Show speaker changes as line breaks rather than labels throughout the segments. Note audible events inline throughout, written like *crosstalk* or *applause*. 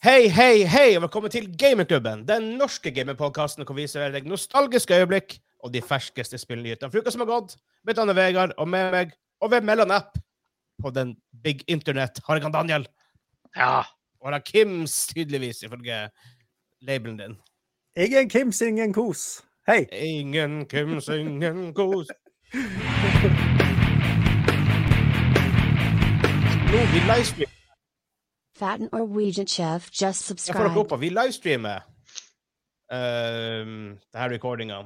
Hei, hei, hei, og velkommen til Gamingklubben, den norske gamingpodkasten hvor vi serverer deg nostalgiske øyeblikk og de ferskeste spillnyhetene fra uka som har gått. Mitt navn er Vegard, og med meg, og ved Mellanapp på den big internet, har jeg han Daniel.
Ja.
Og han har Kims, tydeligvis, ifølge labelen din.
Ingen Kims, ingen kos. Hei.
Ingen Kims, ingen kos. Nå, vi livestreamer.
Fat Norwegian chef just
Jeg får dere
subscribed.
opp, og vi livestreamer uh, det her recordinga.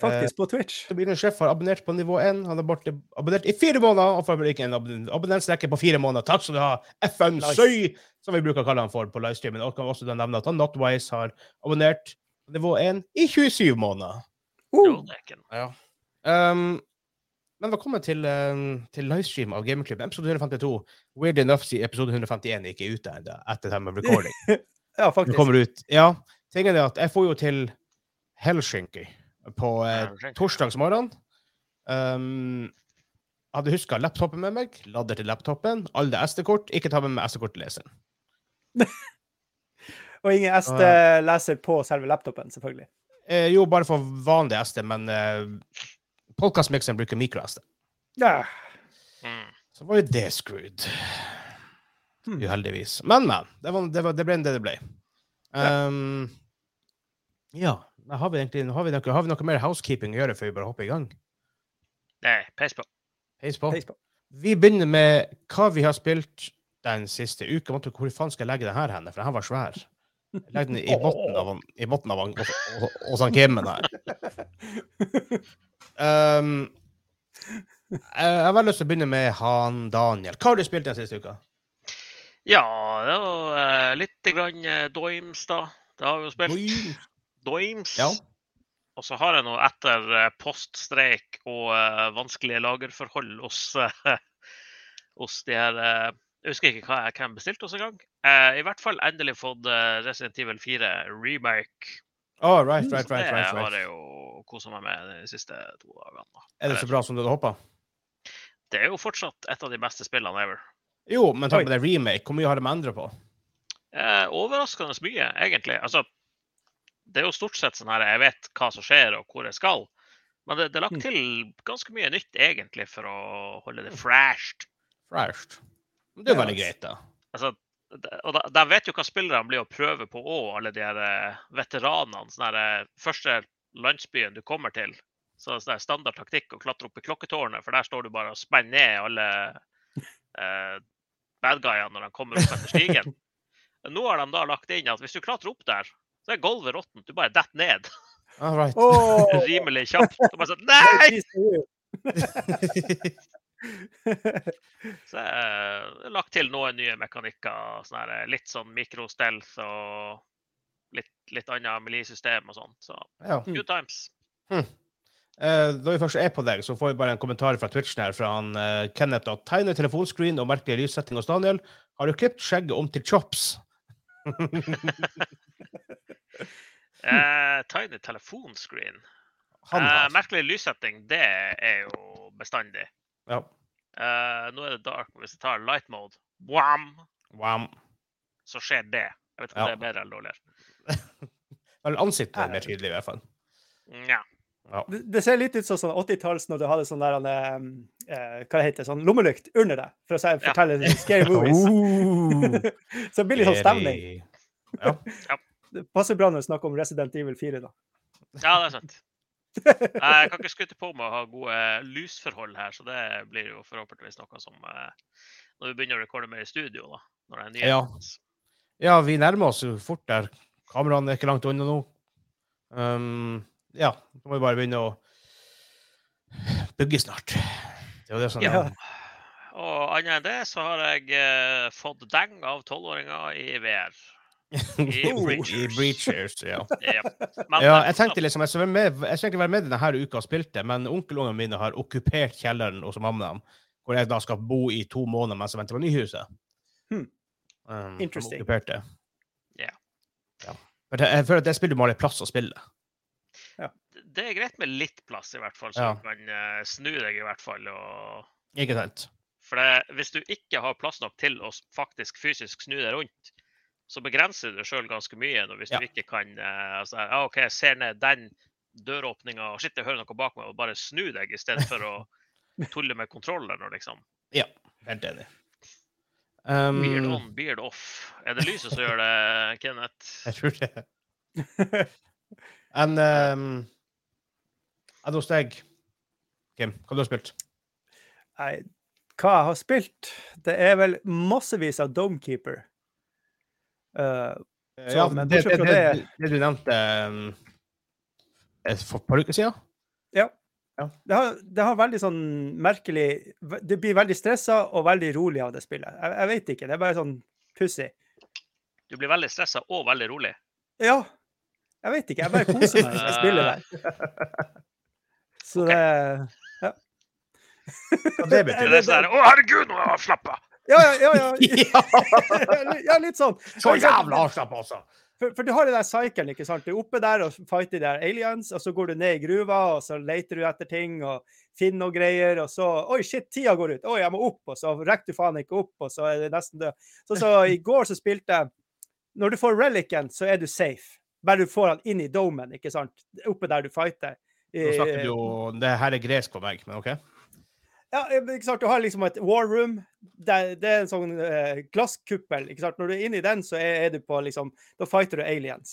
Faktisk, på Twitch.
Tobias Sjef har abonnert på nivå 1. Han har vært abonnert i fire måneder og får ikke en abon- abonnentrekke på fire måneder. Takk skal du ha, FN
Nice.
Søy, som vi bruker å kalle han for på livestreamen. Og kan også da nevne at han Notwise har abonnert på nivå 1 i 27 måneder.
Jo,
Oh.
Uh,
det er ikke den.
Um, men velkommen til, um, til livestream av Gamingklubb, episode 152. Weird enough, sier episode 151 ikke er ute ennå, etter det her med recording. *laughs*
ja,
Den
faktisk.
kommer ut. Ja, tingen er at jeg får jo til Helsinki på eh,
Helsinki.
torsdagsmorgen. Um, hadde huska laptopen med meg, lader til laptopen, alle SD-kort. Ikke ta med meg SD-kort til leseren.
Og ingen SD-leser på selve laptopen, selvfølgelig.
Eh, jo, bare for vanlig SD, men eh, podkastmikseren bruker mikro-SD.
Ja.
Mm.
Så var jo det screwed.
Hmm.
Uheldigvis. Men, men. Det, var, det, var, det ble det det ble. Um, ja. men Har vi, egentlig, har, vi noe, har vi noe mer housekeeping å gjøre før vi bare hopper i gang?
Nei, peis på.
Heis på.
Heis på.
Vi begynner med hva vi har spilt den siste uka. Måtte, hvor faen skal jeg legge den her henne? For den her var svær. Legg den i bunnen av, han- i bunnen av han- hos hos han Kimmen her. Um, jeg jeg har veldig lyst til å begynne med han Daniel. Hva har du spilt den siste uka?
Ja, det var eh, litt grann eh, Doims, da. Det har vi jo spilt.
Oi.
Doims.
Ja.
Og så har jeg nå etter eh, poststreik og eh, vanskelige lagerforhold hos, eh, *laughs* hos de her eh, Jeg husker ikke hva jeg hvem bestilte hos engang. Uh, I hvert fall endelig fått eh, Resident Evil 4 remake.
Oh, right, right,
Så det
right, right,
har
right.
jeg jo kosa meg med de siste to dagene. da.
Er det så bra som du hadde håpa?
Det er jo fortsatt et av de beste spillene ever.
Jo, men takk på det remake. Hvor mye har de endra på?
Eh, overraskende mye, egentlig. Altså, det er jo stort sett sånn her jeg vet hva som skjer og hvor jeg skal. Men det, det er lagt
Mm.
til ganske mye nytt, egentlig, for å holde det fresht.
Fresh. Det er
Ja,
veldig
altså.
greit, da.
Altså, det- og da- de vet jo hva spillerne blir å prøve på òg, alle de her eh, veteranene. Sånn her eh, første landsbyen du kommer til, så er det sånn her standard taktikk å klatre opp i klokketårnet, for der står du bare og spenner ned alle eh, bad guyene når de kommer opp etter stigen. Nå har de da lagt inn at hvis du klatrer opp der, så er gulvet råttent. Du bare detter ned *laughs*
All right.
Åh,
rimelig kjapt. Og bare sånn,
det
Nei!
er trist.
Så eh, det er lagt til noen nye mekanikker. Sånn her, eh, litt sånn mikrostelt og litt, litt annet milisystem og sånt. Så
*laughs* Ja.
good times.
Eh, Da vi først er på deg, så får vi bare en kommentar fra Twitchen her fra han eh, Kenneth. At tegne telefonscreen og merkelig lyssetting hos Daniel. Har du klippet skjegget om til chops?
Eh, tiny telefonscreen.
Mm. Han altså.
Eh,
har.
merkelig lyssetting, det er jo bestandig.
Ja.
Eh, nå er det dark, men hvis jeg tar light mode, wham,
Wow.
så skjer det. Jeg vet ikke om
Ja.
det er bedre eller dårligere.
Vel, ansiktet er mer tydelig, i hvert fall.
Nja.
Det det ser litt ut som sånn 80-talls når du hadde sånn der han, eh, eh, Hva det heter det? Sånn lommelykt under deg, for å si-
Ja.
fortelle
*laughs*
scary
Oh.
movies. *laughs* Så det blir litt sånn stemning.
Very-
Det passer bra når du snakker om Resident Evil 4, da.
Ja, det er
*laughs*
sant. Eh, Jeg kan ikke skryte på med å ha gode eh, lysforhold her, så det blir jo forhåpentligvis noe som eh, Når vi begynner å rekorde mer i studio, da. Når det er nye.
Ja. Ja, vi nærmer oss jo fort der. Kameraene er ikke langt unna nå. Um, ja, så må vi bare begynne å bygge snart. Det er jo det som
Ja.
Og annet enn det så har jeg eh, fått deng av tolvåringer i VR. I
*laughs* I
Breachers.
Breachers, ja. *laughs*
Ja. Men,
ja,
eh,
jeg tenkte liksom, jeg skulle være med, jeg skulle egentlig være med denne uka og spilte, men onkelungene mine har okkupert kjelleren hos mamma dem, hvor jeg da skal bo i to måneder mens jeg venter på nyhuset.
Hmm.
Um,
Interesting.
de okkuperte det.
Ja.
Ja. For det- Jeg føler at det spiller bare plass å spille.
det er greit med litt plass, i hvert fall, så
Ja.
du kan eh, snu deg, i hvert fall. og...
Ikke sant?
For det, hvis du ikke har plass nok til å s- faktisk fysisk snu deg rundt, så begrenser du deg sjøl ganske mye når hvis
Ja.
du ikke kan eh, altså, ja, OK, jeg ser ned den døråpninga og shit, jeg hører noe bak meg, og bare snu deg i stedet for å tulle med kontrolleren og liksom
Helt enig. Um,
Beard on, beard off. Er det lyset som gjør det, Kenneth?
Jeg tror det. *laughs* Enn um, Enn hos deg, Kim, hva du har spilt?
Nei, hva jeg har spilt Det er vel massevis av Domekeeper. Eh, Så,
ja,
men
det, det,
bortsett
det,
fra
det,
det-
du nevnte um, eh, for et par uker siden?
det, har, det har veldig sånn merkelig Det blir veldig stressa og veldig rolig av det spillet. Jeg, jeg vet ikke. Det er bare sånn pussig.
Du blir veldig stressa og veldig rolig.
Ja. Jeg vet ikke. Jeg bare koser meg når jeg spiller der. Så det
Hva det
Det
betyr?
er sånn der, Å, herregud, nå er jeg avslappa!
Ja, ja, ja. ja.
*laughs* ja,
ja litt sånn.
så jævla avslappa, altså!
For, for du har den der cyclen, ikke sant? Du er oppe der og fighter de der aliens, og så går du ned i gruva, og så leter du etter ting og finner noe greier, og så Oi, shit, tida går ut! Oi, jeg må opp! Og så rekker du faen ikke opp, og så er du nesten død. Så, så
*laughs*
i går så spilte jeg Når du får relicen, så er du safe. Bare du får han inn i domen, ikke sant? Oppe der du fighter.
Nå
Eh,
snakker du jo Det her er gresk for meg, men OK?
Ja, ikke sant? Du har liksom et war room. Det, det er en sånn eh, glasskuppel. ikke sant? Når du er inne i den, så er, er du på liksom Da fighter du aliens.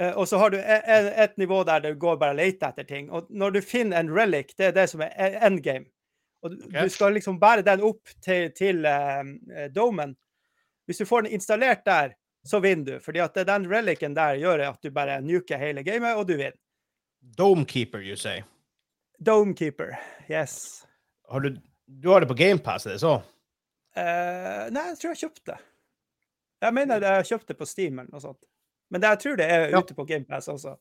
Eh, og så har du e- e- et nivå der du går bare og leter etter ting. Og når du finner en relic, det er det som er e- endgame. Og du-
Ok.
du skal liksom bære den opp til, til eh, eh, domen. Hvis du får den installert der, så vinner du. Fordi at det- den relicen der gjør at du bare nuker hele gamet, og du vinner.
Domekeeper, you say.
Domekeeper. Yes.
Har du, du har det på GamePass, er det så?
Eh, nei, jeg tror jeg kjøpte det. Jeg mener det jeg kjøpte på Steam eller noe sånt. Men det, jeg tror det er
Ja.
ute på GamePass også.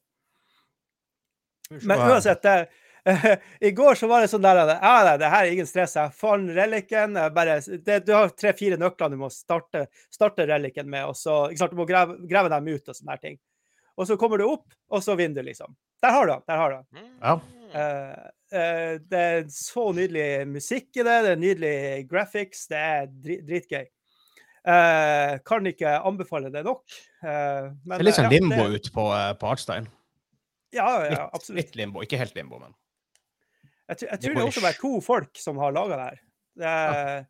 Skal vi se
Men
her.
uansett, det, *laughs* i går så var det sånn der at, ja, nei, det her er ingen stress. Jeg fant relicen. jeg Bare, det, du har tre-fire nøkler du må starte, starte relicen med. Og så, ikke sant, du må grave, grave dem ut og sånne her ting. Og så kommer du opp, og så vinner du, liksom. Der har du den. Der har du den.
Ja.
Mm.
Eh, eh, det er så nydelig musikk i det, det er nydelig graphics, det er dri dritgøy. Eh, kan ikke anbefale det nok. eh, men,
Det er litt sånn
eh, ja,
limbo
det-
ut på, eh, på Artstein.
Ja, ja, ja,
Litt,
absolutt.
litt limbo. Ikke helt limbo, men
Jeg, tr- jeg
Det
tror det er
går
også
ish.
bare to folk som har laga det her. Det er,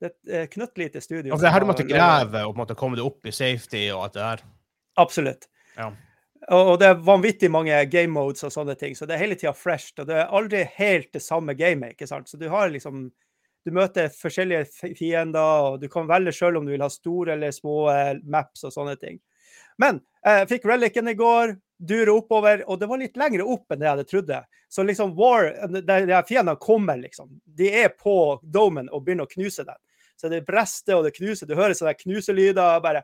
det er et knøttlite studio.
Altså, det
som
her du
har
måtte
laget det.
grave og på en måte komme deg opp i safety og alt det der.
Absolutt.
Ja.
Og, og det er vanvittig mange game modes og sånne ting, så det er hele tida fresht. Og det er aldri helt det samme gamet, ikke sant. Så du har liksom Du møter forskjellige fi- fiender, og du kan velge sjøl om du vil ha store eller små eh, maps og sånne ting. Men eh, jeg fikk relicen i går, durer oppover, og det var litt lengre opp enn det jeg hadde trodde. Så liksom war, de, de fiendene kommer, liksom. De er på domen og begynner å knuse den. Så det brester og det knuser. Du hører sånne knuselyder. og Bare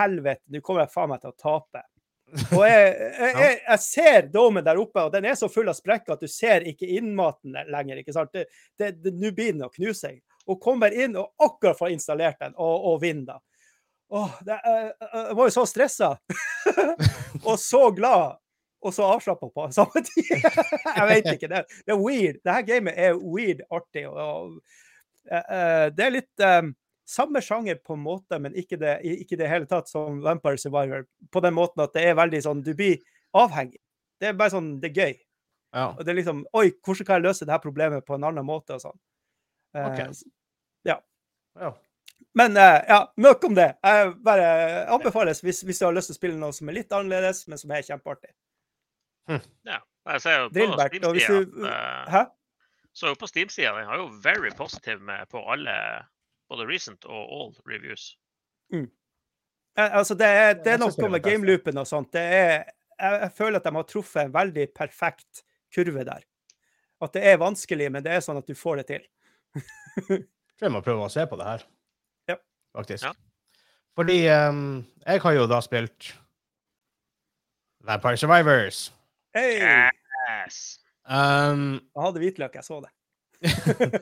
helvete, nå kommer jeg faen meg til å tape. Og jeg, jeg, jeg, jeg ser domen der oppe, og den er så full av sprekker at du ser ikke innmaten lenger. ikke sant? Det- det- det- Nå begynner den å knuse seg. Og kommer inn og akkurat får installert den, og, og vinner. da. Åh, det, jeg, jeg jeg var jo så stressa. *laughs* og så glad. Og så avslappa på samme tid. *laughs* jeg vet ikke. Det, det er weird. Det her gamet er weird artig. Og, og, eh, eh, det er litt eh, samme sjanger på en måte, men ikke det, i- ikke det hele tatt som Vampire Survivor. På den måten at det er veldig sånn Du blir avhengig. Det er bare sånn Det er gøy.
Ja.
Og det er liksom Oi, hvordan kan jeg løse det her problemet på en annen måte? og sånn. Eh,
Ok.
s- Ja.
Ja.
Men eh, ja, nok om det. Jeg bare anbefales hvis, hvis du har lyst til å spille noe som er litt annerledes, men som er kjempeartig.
ja. Jeg ser jo på
Drillbert, og hvis du-
Steam-sida at, eh,
Hæ?
så jo på Steam-sida, den har jo very positive med på alle både recent og all reviews.
Eh, Altså, det er, det
jeg
er
synes det
noe
er
med
litt
gameloopen og sånt. Det er, jeg, jeg føler at de har truffet en veldig perfekt kurve der. At det er vanskelig, men det er sånn at du får det til.
tror jeg må prøve å se på det her.
Ja.
Faktisk.
Ja.
Fordi ehm, jeg har jo da spilt Vampire Survivors.
Hei!
Yes!
Ehm,
Jeg hadde hvitløk, jeg så
*laughs*
det.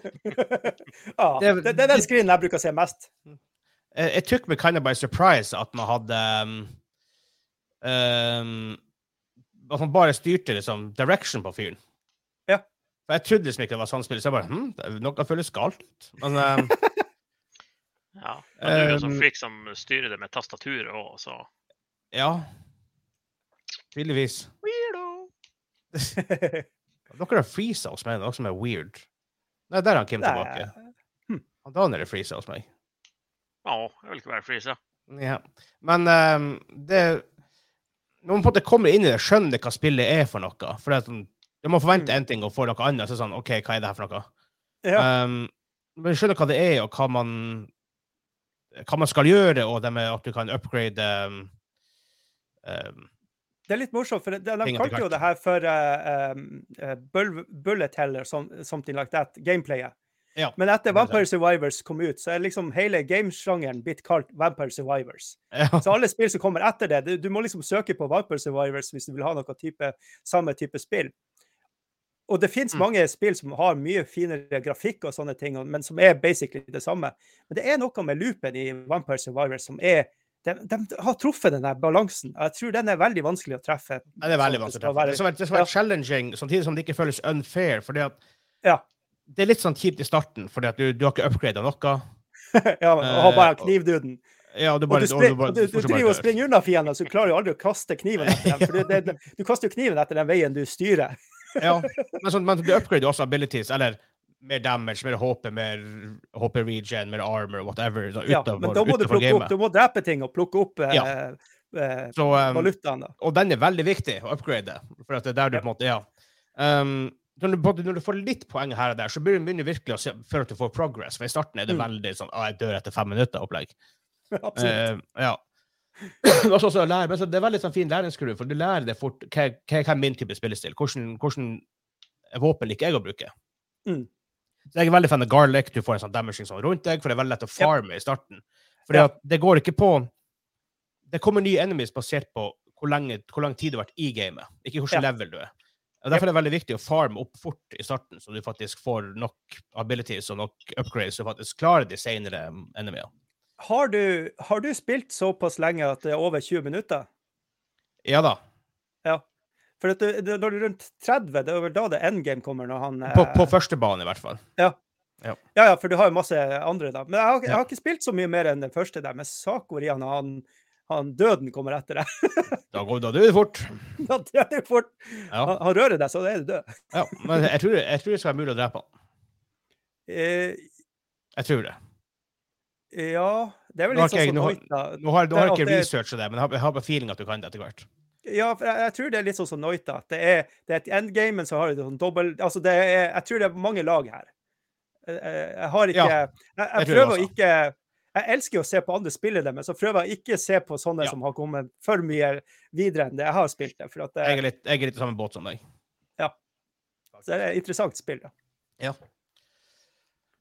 ja,
Det
det,
er-
det er den screenen jeg bruker å se mest.
eh, it took me kind of by surprise at man hadde ehm, ehm, At man bare styrte liksom direction på fyren.
Ja. *laughs*
For jeg trodde liksom ikke det var sånn spill, så jeg bare hm, det- noe føles galt. Men ehm,
Ja. Men du er jo sånn
Um,
freak som styrer det med tastaturet òg, så
Ja. Tydeligvis.
Weirdo!
Dere har freeza hos meg, det er noe som er weird. Nei, der er han Kim
*laughs*
tilbake. Han Daniel er freeza hos meg.
Å, jeg vil ikke være freeza.
Ja. Men ehm, det Når man på en måte kommer inn i det, skjønner hva spillet er for noe. For det er sånn, når man forventer én ting og får noe annet, så er det sånn OK, hva er det her for noe?
Mm. Ja.
Um, men skjønner hva det er, og hva man, hva man skal gjøre, og det med at du kan upgrade um, um,
Det er litt morsomt, for de, de
Ting etter
kalte jo
hvert.
det her for eh, um, eh, bull- bullet heller, som, something like that, gameplayet.
Ja,
Men
det er
etter
det.
Vampire Survivors kom ut, så er liksom hele gamesjangeren blitt kalt Vampire Survivors.
*laughs* ja.
Så alle spill som kommer etter det, du, du må liksom søke på Vampire Survivors hvis du vil ha noe type, samme type spill. Og det fins
Mm.
mange spill som har mye finere grafikk og sånne ting, og- men som er basically det samme. Men det er noe med loopen i Vampire Survivors som er de, de har truffet den der balansen. Jeg tror den er veldig vanskelig å treffe.
Nei, det er veldig
sånn
vanskelig. å
skal
treffe. Det
være.
skal være, det skal være challenging, samtidig som det ikke føles unfair. fordi at
Ja.
Det er litt sånn kjipt i starten, fordi at du, du har ikke upgrada noe.
ja, og har
Eh,
bare
og-
knivduden.
Ja, og du
Og
bare,
du, spring, og du, du
fortsatt bare
driver og
dør.
springer unna fienden, så klarer du aldri å kaste kniven etter dem. For det, det, du kaster jo kniven etter den veien du styrer.
Ja, men, sånn, men du upgrader jo også abilities, eller mer damage, mer HP, mer HP regen, mer armor, whatever. Så,
Ja,
utenfor,
men da må du
utenfor
plukke opp,
gamet.
du må drepe ting og plukke opp eh,
Ja.
eh,
Så, um,
valutaen. da. *laughs*
og den er veldig viktig å upgrade. For at det er der du på en måte, ja. Um, når, du, både når du får litt poeng her og der, så begynner begynner du virkelig å se før at du får progress. For i starten er det
Mm.
veldig sånn ah, 'jeg dør etter fem minutter'-opplegg. eh,
Absolutt.
ja. *coughs* Og så- så lærer- men så det er veldig sånn fin læringskurve, for du lærer det fort hva, hva, hva er min type spillestil. Hvordan, hvordan våpen liker jeg å bruke?
Mm.
Så jeg er veldig fan av garlic. Du får en sånn damaging sånn rundt deg, for det er veldig lett å farme i starten. Fordi
Ja.
at det går ikke på Det kommer nye enemies basert på hvor, lenge, hvor lang tid du har vært i gamet, ikke hvilken
Ja.
level du er. Og Derfor er det veldig viktig å farme opp fort i starten, så du faktisk får nok abilities og nok upgrades så du faktisk klarer de senere enemiene.
Har, du, har du spilt såpass lenge at det er over 20 minutter?
Ja da.
For at du, du- når du er rundt 30, det er vel da det endgame kommer? når han...
På,
eh,
på første bane, i hvert fall.
Ja, ja, for du har jo masse andre, da. Men jeg har, jeg
Ja.
har ikke spilt så mye mer enn den første der, men Sakorian, han, han døden kommer etter deg. *laughs*
Da går da dør det fort.
Da dør du fort.
Ja.
Han, han rører deg, så er du død.
ja. Men jeg tror, jeg tror det skal være mulig å drepe han.
Eh,
Jeg tror det.
ja Det er vel
Nå har
litt
ikke
sånn
jeg-
som
nå har-
Noita.
Nå har, nå har jeg
Det-
ikke
det-
researcha det, men jeg har, jeg har bare feeling at du kan det etter hvert.
Ja, for jeg, jeg tror det er litt sånn som Noita. at Det er, det er et endgame, men så har du sånn dobbel Altså, det er, jeg tror det er mange lag her. Jeg, jeg- jeg har ikke
Ja,
Jeg,
jeg tror
jeg
det
prøver å
også.
ikke Jeg elsker jo å se på andre spille det, men så prøver jeg ikke å se på sånne
Ja.
som har kommet for mye videre enn det jeg har spilt det. For at det,
Jeg er litt, jeg er litt i samme båt som deg.
så det er et interessant spill. da.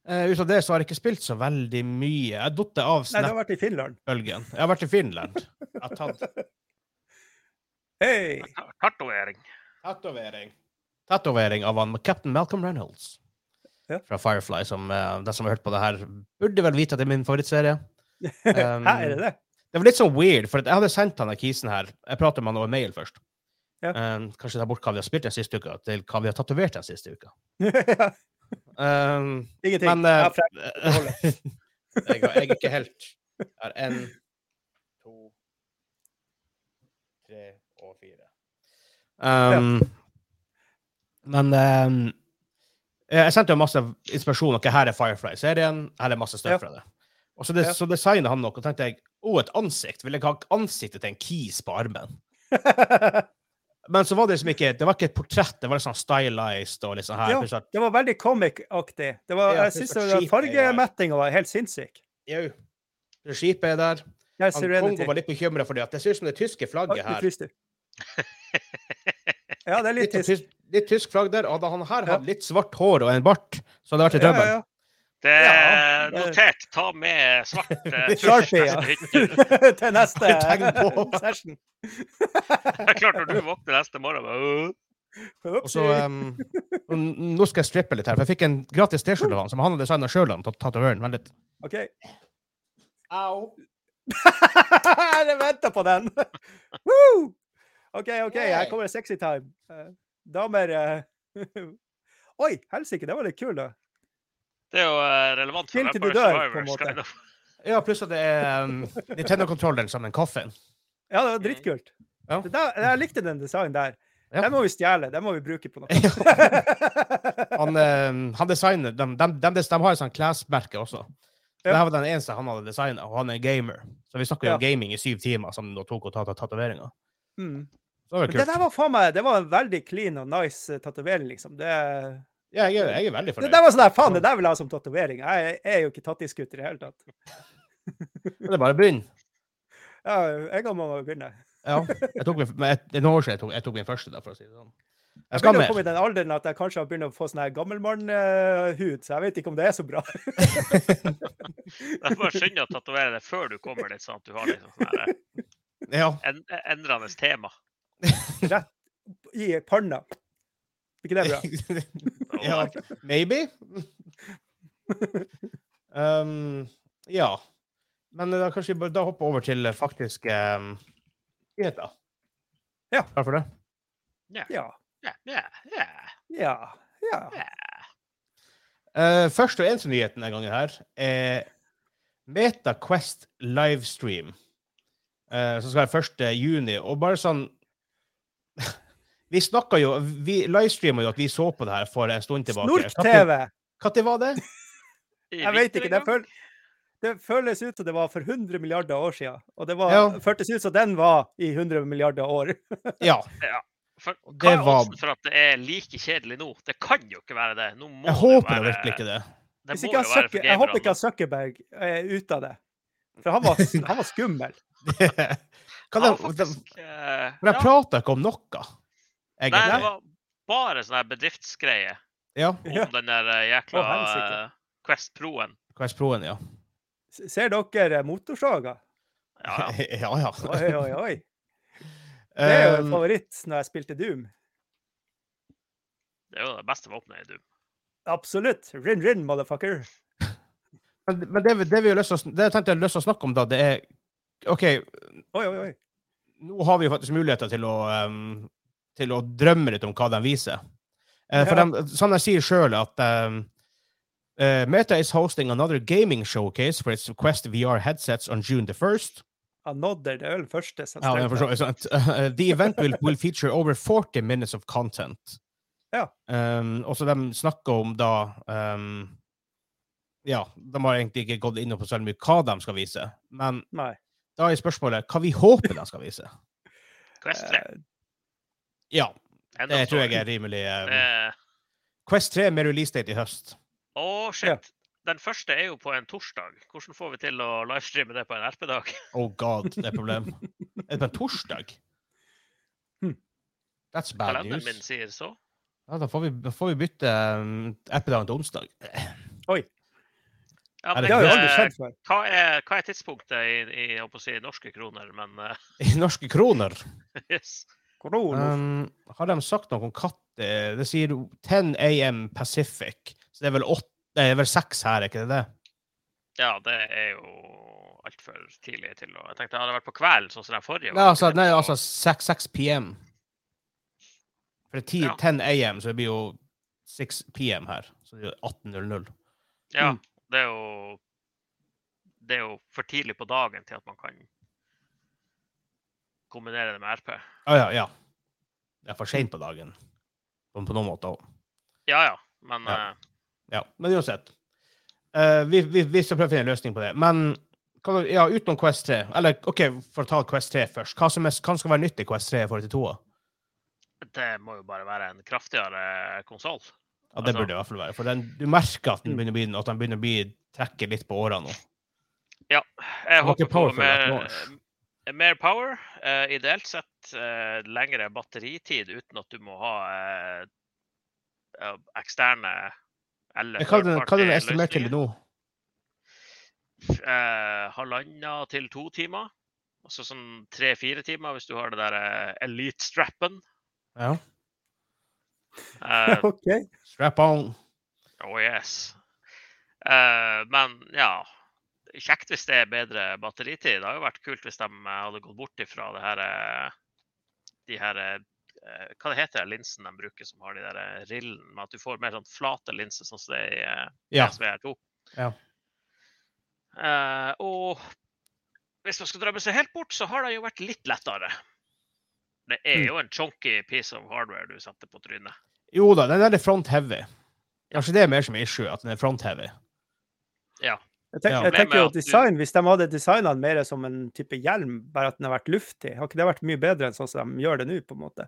Eh, ut av det så har jeg ikke spilt så veldig mye. Jeg har datt av
Nei, det har vært i Finland.
Snap-bølgen. Jeg har vært i Finland. Jeg har tatt
Hei! *laughs*
Ta- Tatovering.
tatovering. Tatovering av han Captain Malcolm Reynolds
Ja.
fra Firefly, som eh, de som har hørt på det her, burde vel vite at det er min favorittserie. Um,
Hæ, er det *laughs* det?
Det var litt sånn weird, for at jeg hadde sendt han den kisen her. Jeg pratet med han over mail først.
Ja.
Um, kanskje ta bort hva vi har spilt den siste uka, til hva vi har tatovert den siste uka. Um, men
Ingenting. Jeg
eh,
har frem-
*laughs* jeg, har- jeg er ikke helt. Jeg har én, to, tre og fire. Um, Men um, jeg sendte jo masse inspirasjon. Ok, her er Firefly-serien. Her er masse
Ja.
støv fra det. Og så, det,
Ja.
så designet han noe, og tenkte jeg å, et ansikt. Vil jeg ha ansiktet til en kis på armen? Men så var det liksom ikke det var ikke et portrett, det var litt sånn stylized og litt sånn her.
Ja.
pluss at-
*laughs* det var veldig comic-aktig. Det var,
Ja,
jeg
det
syns
var skit, det der.
fargemettinga var helt sinnssyk.
Jau. Skipet er der.
Jeg
Han Kongo var litt bekymra for det. At det ser ut som det tyske flagget her.
Ja, det er litt
Litt,
tysk.
tysk, litt tysk flagg der. Hadde han her
Ja.
hatt litt svart hår og en bart, så hadde det vært i trøbbel. *laughs*
Ja, *laughs*
Det
Ja,
er
det-
notert. Ta med svart eh, tusj
*laughs* Sharpie, ja.
neste hyttetur. *laughs*
Til neste
Tegn på.
*laughs* session.
Det er klart når du våkner neste morgen bare, «Åh».
Og så, um, og n- nå skal jeg strippe litt her, for jeg fikk en gratis T-skjorte av han som han hadde designa sjøl.
OK. *laughs* Jeg venta på den! *laughs* Woo! OK, OK, her kommer det sexy time. Eh, Damer eh, *laughs* Oi, helsike, det var litt kult, da.
Det er jo eh, relevant for
Helt til du
Vampire
dør, på en
Survivors.
måte.
Kind of.
Ja, pluss at det er um, Nintendo-kontrolleren som en kaffe.
Ja, det var dritkult.
Ja.
Det der, jeg likte den designen der.
Ja.
Den må vi stjele. Den må vi
*laughs*
bruke på noe.
Han, eh, han designer De, de, de, de har et sånt klesmerke også.
Ja.
Det her var den eneste han hadde designa, og han er gamer. Så vi snakker jo om gaming i syv timer, som det tok å ta tatoveringa.
*laughs* mm.
Så det var
Men det
kult.
der var faen meg Det var en veldig clean og nice eh, tatovering, liksom. Det,
Ja, jeg, er- jeg er veldig
det
fornøyd.
der var sånn der Faen, det der vil jeg ha som tatovering. Jeg er- er jo ikke tattisgutt i det hele tatt.
Men det er bare å begynne.
Ja, en gang må man begynne.
Ja. Jeg tok min, men jeg, det er noen år siden jeg tok, jeg tok min første, da, for å si det sånn. Jeg
Jeg
skal
begynner å komme
mer.
i den alderen at jeg kanskje har begynt å få sånn her gammelmannhud, så jeg vet ikke om det er så bra. *laughs*
Det er bare synd å tatovere det før du kommer dit, sånn at du har liksom sånn her,
Ja.
en, endrende tema.
I panna. Ikke det
*laughs*
bra?
Og
ja.
*laughs*
Maybe. um, ja. Men eh, da kanskje vi bør da hoppe over til eh, faktiske um, nyheter.
Ja.
Klar for det?
Ja.
Ja, ja, ja,
Ja. ja.
Eh, første og eneste nyheten denne gangen her er Meta Quest livestream. eh, som skal være 1. juni. Og bare sånn *laughs* Vi snakka jo Vi livestreama jo at vi så på det her for en stund tilbake.
Snort-TV!
Når var
*laughs*
det?
I
Jeg vet ikke. Det,
vintergang?
føl det føles ut som det var for 100 milliarder år siden. Og det var,
Ja.
føltes ut som den var i 100 milliarder år.
Ja.
For,
Og
hva
det
er
var-
oddsen for at det er like kjedelig nå? Det kan jo ikke være det. Nå må
Jeg håper da virkelig ikke det. *laughs*
Det
Hvis
må
ikke
jo
han
være
Zucker-
for altså.
jeg håper ikke
gamerne.
han Zuckerberg er ute av det. For han var, han var
*laughs*
skummel.
Hva
Ja,
det, det,
faktisk, eh,
men
ja.
jeg prata ikke om noe,
Nei, det
egentlig.
var bare sånn her bedriftsgreie
Ja,
om
Ja.
den der eh, jækla
Å, helsike.
eh, Quest Pro-en.
Quest Pro-en, ja.
S- Ser dere eh, motorsaga?
Ja, ja.
*laughs* Ja, ja.
Oi, oi,
*laughs*
oi. Det er jo en
Um,
favoritt når jeg spilte Doom.
Det er jo det beste våpenet i Doom.
Absolutt. Rin, rin, motherfucker.
Eh, Men, men det, vi- det vi har lyst til å, sn- det jeg tenkte jeg har lyst til å snakke om, da, det er OK,
Oi, oi, oi.
nå har vi jo faktisk muligheter til å, ehm, til å drømme litt om hva de viser. Eh, for
Ja.
de, som de sier sjøl, at ehm, eh, Meta is hosting another gaming showcase for its Quest VR headsets on June the 1st.
Han nådde det øl første. som
Ja, men for så vidt *laughs* sant.
strømte.
Uh, The event will, will feature over 40 minutes of content.
Ja.
Um, og så de snakker om da um, Ja, de har egentlig ikke gått inn på så veldig mye hva de skal vise, men
Nei.
da er spørsmålet hva vi håper de skal vise.
Quest 3.
Eh,
Ja,
enda
Eh, det tror
større.
jeg er rimelig um,
Eh,
Quest 3 med release date i høst.
Å, shit. Den første er jo på en torsdag. Hvordan får vi til å livestreame det på en RP-dag?
Oh god, det er et problem. Er det på en torsdag?
Hmm.
That's bad
Kalenderen
news.
min sier så.
Ja, da får vi, da får vi bytte um, appedagen til onsdag.
Ja,
Er
men,
Det har jo aldri
eh,
skjedd før.
hva, er, hva er tidspunktet i, i, jeg holdt på å si, norske kroner? Men eh, *laughs*
I norske kroner.
yes.
Korona.
Um, har de sagt noe om katter? Det sier 10 AM Pacific. Så det er vel åtte Det er vel seks her, er ikke det det?
ja, det er jo altfor tidlig til å Jeg tenkte det hadde vært på kvelden, sånn som den forrige.
Nei,
var.
altså, nei, altså 6, 6 PM. For det er 10,
Ja.
10 AM, så det blir jo 6 PM her. Så det er jo 18.00. mm.
Ja, det er jo Det er jo for tidlig på dagen til at man kan kombinere det med RP.
Å ja, ja. Det er for seint på dagen. På, på noen måter òg.
Ja ja, men
Ja.
eh,
Ja, men uansett. Eh, vi, vi, vi skal prøve å finne en løsning på det. Men hva- ja, utenom Quest 3 Eller OK, for å ta Quest 3 først. Hva, som er, hva skal være nytt i Quest 3 i forhold til 2?
eh, det må jo bare være en kraftigere konsoll.
Ja, det
Altså-
burde det i hvert fall være. For den, du merker at den begynner
Mm.
å bli, at den begynner å bli trekket litt på årene nå.
Ja. Jeg
var
håper
ikke
på
powerful at
mer,
launch.
eh, mer power. eh, ideelt sett eh, lengre batteritid uten at du må ha eh, eh, eksterne eller
Men Hva er den- hva er den estimert til
third-party-løsninger.
nå?
eh, halvannen til to timer. Altså sånn tre-fire timer hvis du har det der eh, elite-strappen.
Ja.
Eh,
*laughs* OK.
Strap on.
oh yes. Eh, men ja, kjekt hvis det er bedre batteritid. Det hadde jo vært kult hvis de eh, hadde gått bort ifra det her eh, De her eh, eh, Hva det heter det linsen de bruker som har de der eh, rillene, med at du får mer sånn flate linser, sånn som det er i eh,
Ja.
PSVR 2.
Ja.
Eh, og hvis man skal drømme seg helt bort, så har det jo vært litt lettere. Det er
Mm.
jo en chunky piece of hardware du setter på trynet.
Jo da, den der er front heavy. Kanskje det er mer som issue, at den er front heavy.
Jeg tenker,
Ja.
jeg tenker jo
Problemet er at du-
design, Hvis de hadde designa den mer som en type hjelm, bare at den har vært luftig, har ikke det vært mye bedre enn sånn som de gjør det nå? på en måte?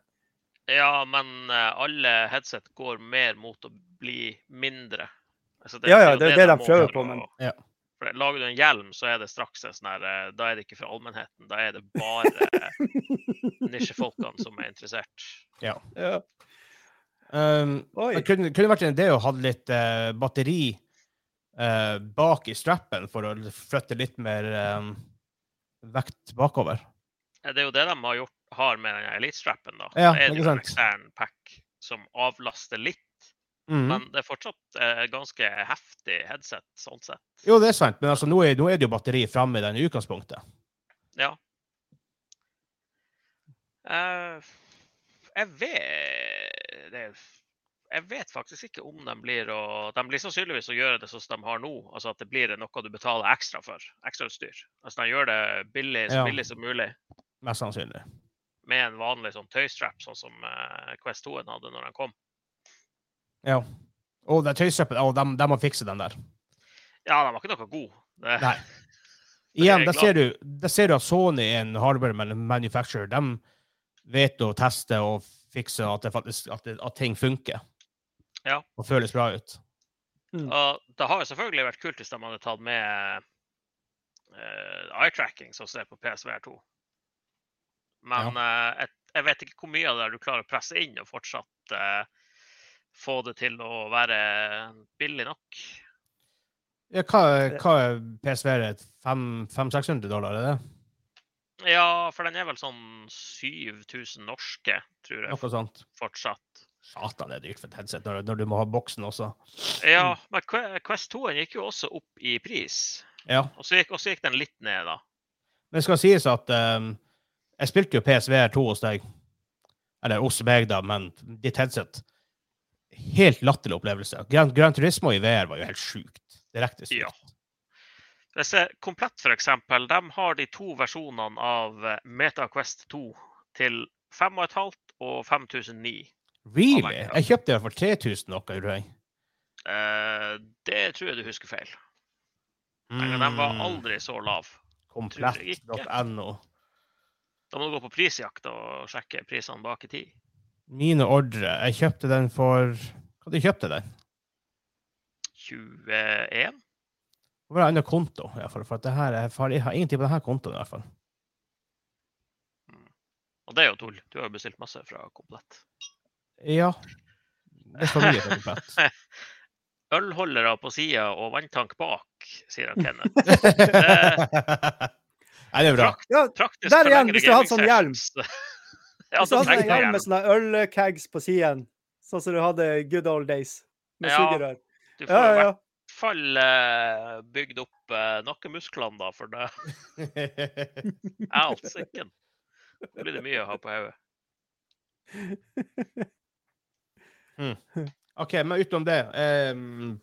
Ja, men eh, alle headset går mer mot å bli mindre. Altså,
Ja, ja,
jo
det er det
de
de
må
prøver
for
på, men-
å-
Ja.
For det- Lager du en hjelm, så er det straks en sånn her eh, Da er det ikke for allmennheten. Da er det
*laughs*
bare nisjefolkene som er interessert.
Ja.
Um,
Oi.
det kunne, kunne vært en idé å ha litt eh, batteri eh, bak i strappen for å flytte litt mer eh, vekt bakover.
Eh, Det er jo det de har, gjort, har med den elitestrappen, da.
Ja,
Da er det
ikke
jo en
sant.
ekstern pack som avlaster litt,
Mhm.
Mm.
men det er fortsatt eh, et ganske heftig headset sånn sett.
Jo, det er sant, men altså, nå, er, nå er det jo batteri framme i den i utgangspunktet.
Eh, jeg vet det, Jeg vet faktisk ikke om de blir å De blir sannsynligvis å gjøre det sånn som de har nå. Altså at det blir noe du betaler ekstra for. Ekstrautstyr. Altså de gjør det billig, så
Ja.
billig som mulig
Mest sannsynlig.
med en vanlig sånn tøystrap, sånn som eh, Quest 2 en hadde når den kom.
Ja. Og den tøystrappen, å, de, de må fikse den der.
Ja, den var ikke noe god. Det,
Nei.
er
Igjen,
jeg
der
glad
ser, du, der ser du at Sony er en hardware man- manufacturer. De vet å teste og fikse at, det faktisk, at, det, at ting funker.
Ja.
Og føles bra ut.
Og det har jo selvfølgelig vært kult hvis de hadde tatt med eh, eye-tracking, sånn som det er på PSVR2. Men eh, jeg, jeg vet ikke hvor mye av det du klarer å presse inn og fortsatt eh, få det til å være billig nok.
Ja, hva,
Eh.
hva er PSV-er? 500-600 dollar, er det?
Ja, for den er vel sånn 7000 norske, tror jeg,
Noe sånt.
fortsatt.
Satan, det er dyrt for et headset når, når du må ha boksen også.
Ja, men Que- Quest 2 gikk jo også opp i pris.
Ja.
Og så gikk, og så gikk den litt ned, da.
Men det skal sies at ehm, jeg spilte jo PSVR 2 hos deg. Eller hos meg, da, men ditt headset. Helt latterlig opplevelse. Gran, Gran Turismo i VR var jo helt sjukt. Direkte sykt.
Ja. Jeg ser Komplett f.eks. De har de to versjonene av eh, Meta Quest 2 til 5500 og 5009.
Really?
Ja, men-
Jeg kjøpte det for 3000 noe, tror jeg.
Eh, det tror jeg du husker feil. Eller, Den
Mm.
Mm.
var aldri så lav.
Komplett.no.
Da må du gå på prisjakt og sjekke prisene bak i tid.
Mine ordre. Jeg kjøpte den for Hva de kjøpte den?
21?
Det var en annen konto, i hvert fall, for at det her, er- for jeg har ingenting på denne kontoen. i hvert fall.
Og det er jo tull. Du har jo bestilt masse fra Komplett.
Ja. Det er for mye for komplett.
Ølholdere på sida og vanntank bak, sier han Kenneth.
*laughs*
Nei, det er
*laughs*
bra.
Prakt-
ja,
Praktisk
Der
for
igjen,
lengre
hvis du hadde sånn
gaming
hjelm.
sessions. *laughs* ja,
Hvis du
da
hadde
trenger
en
du
hjelm
hjelm.
med sånne ølcags på siden, sånn som du hadde i good old days med
Ja.
sugerør.
Du får
Ja,
i
ja,
hvert
ja.
fall eh, bygd opp eh, nakkemusklene, da, *laughs* for det er alt sikken. Da blir det mye å ha på hodet.
OK, men utenom det ehm,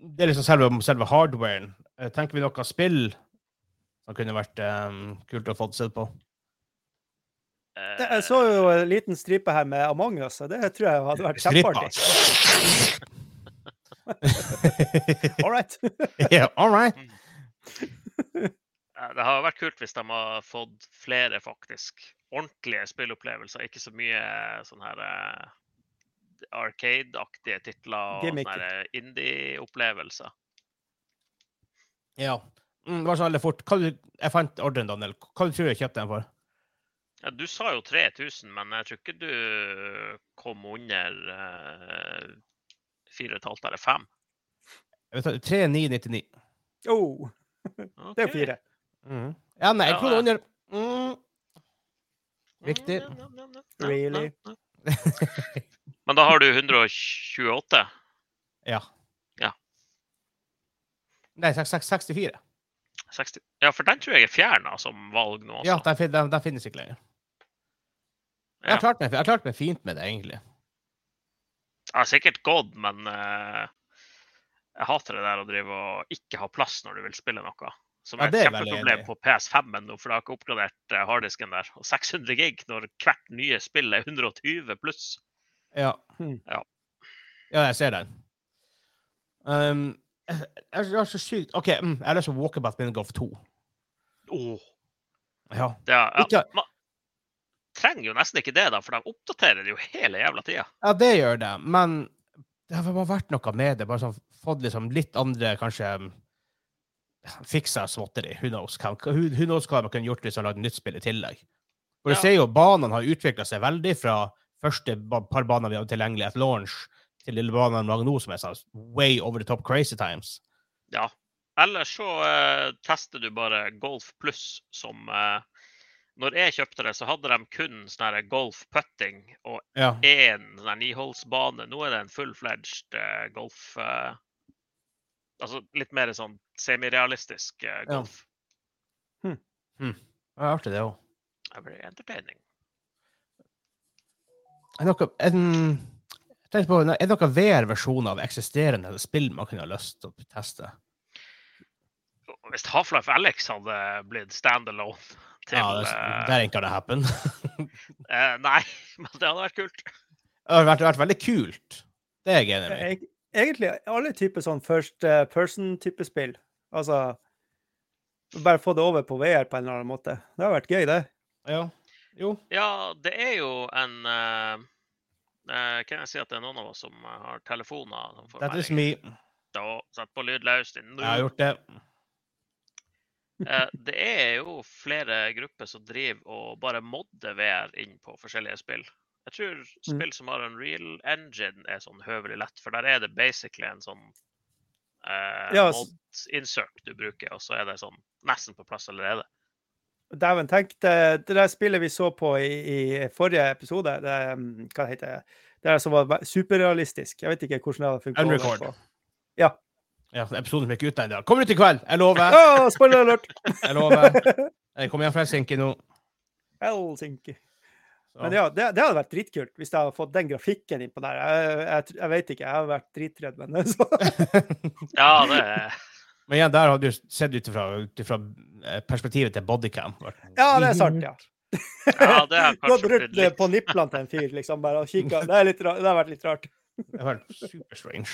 Det er liksom selve, selve hardwaren. Eh, Tenker vi noe spill som kunne vært ehm, kult å få sett på?
Eh,
Det- Jeg så jo en liten stripe her med Among us, og det tror jeg hadde vært
altså.
kjempeartig.
*laughs*
*laughs* All right.
yeah, all right.
eh, Det har vært kult hvis de har fått flere faktisk ordentlige spillopplevelser, ikke så mye eh, sånn her eh, Arcade-aktige titler og
Gimmick.
sånne her, eh, indie-opplevelser.
Ja. Mm, bare så veldig fort. Hva du, jeg fant ordren, Daniel. Hva du tror du jeg kjøpte den for?
Ja, du sa jo 3000, men jeg tror ikke du kom under eh, 4,5 eller 5.
Jeg vet ikke, 3999.
Oh, det er jo fire.
Mm.
Ja, nei, en
Ja,
krone
ja.
under. Mm. Riktig.
Nam, nam, nam, nam, nam,
Really?
nam, nam. Men da har du 128?
Ja.
Ja.
Nei, seks- seks- 64.
60. Ja, for den tror jeg er fjerna som valg nå.
Ja,
Også.
den, fin- den, den finnes ikke lenger. Jeg
Ja.
har klart meg, jeg har klart meg fint med det, egentlig.
Jeg har sikkert gått, men eh, Jeg hater det der å drive og ikke ha plass når du vil spille noe. Som
Ja,
er
det
et
er veldig
kjempeproblem
enig.
på PS5-en nå, for jeg har ikke oppgradert eh, harddisken der. Og 600 gig når hvert nye spill er 120 pluss.
Ja.
Ja.
Ja, jeg ser den. Um, jeg, jeg er så sykt OK, mm, jeg har lyst til Walkabout Minigolf 2.
Åh,
Ja.
det er, ja.
Ikke-
Man trenger jo nesten ikke det, da, for de oppdaterer det jo hele jævla tida.
ja, det gjør det, men det har bare vært noe med det. Bare sånn, fått liksom litt andre, kanskje um, Fiksa småtteri. Who knows, hva- who, who knows hva man kunne gjort hvis man lagde nytt spill i tillegg. For
Ja.
Du ser jo banene har utvikla seg veldig fra første ba- par baner vi hadde tilgjengelig etter launch, til lille banen de lager nå, som er sånn way over the top crazy times.
Ja. Eller så eh, tester du bare Golf pluss som eh, Når jeg kjøpte det, så hadde de kun sånn her golf putting og
Ja.
én sånn her niholdsbane. Nå er det en full-fledged eh, golf eh, Altså litt mer sånn semirealistisk eh,
Ja.
golf.
Det er artig, det òg.
Every entertaining.
Er det noe, en, jeg tenkte på, er det noen VR-versjoner av eksisterende spill man kunne ha lyst til å teste?
Og Hvis Half-Life Alex hadde blitt standalone *laughs* til
ja, det, det
eh,
er ikke gonna happen.
eh, Nei, *laughs* men det hadde vært kult.
Det hadde vært, vært veldig kult. Det er jeg enig i.
Eg- Egentlig alle typer sånn first eh, person-type spill. Altså Bare få det over på VR på en eller annen måte. Det har vært gøy, det.
Ja. Jo.
Ja, det er jo en eh, eh, Kan jeg si at det er noen av oss som eh, har telefoner? som får
That is
meldinger
me.
og setter på lydløst? i
Jeg har
nå?
gjort det.
Eh, det er jo flere grupper som driver og bare modder VR inn på forskjellige spill. Jeg tror spill som har en real engine, er sånn høvelig lett, for der er det basically en sånn eh,
Ja, s-
mod insert du bruker, og så er det sånn nesten på plass allerede.
Dæven, tenk det, det der spillet vi så på i, i forrige episode, det, um, hva heter det? Det der som var ve- superrealistisk. Jeg vet ikke hvordan det hadde funket over
Unrecord.
på.
Ja, episoden som gikk ut den dagen. Kommer ut i kveld! Jeg lover.
Å, spoiler alert!
Jeg
*laughs*
lover. Jeg kommer hjem fra Helsinki nå.
Helsinki.
Så.
Men ja, det, det hadde vært dritkult hvis jeg hadde fått den grafikken innpå der. Jeg, jeg, tr- jeg vet ikke, jeg har vært dritredd, men *laughs* så.
Ja, det er
Men igjen, der har du sett ut ifra ut ifra, eh, perspektivet til bodycam.
Ja, det er sant, ja.
Ja, det har
Gått
kanskje
rundt
blitt litt
på nipplene til en fyr, liksom, bare og kikka. Det, er litt ra- det har vært litt rart.
*laughs* Det har vært super strange.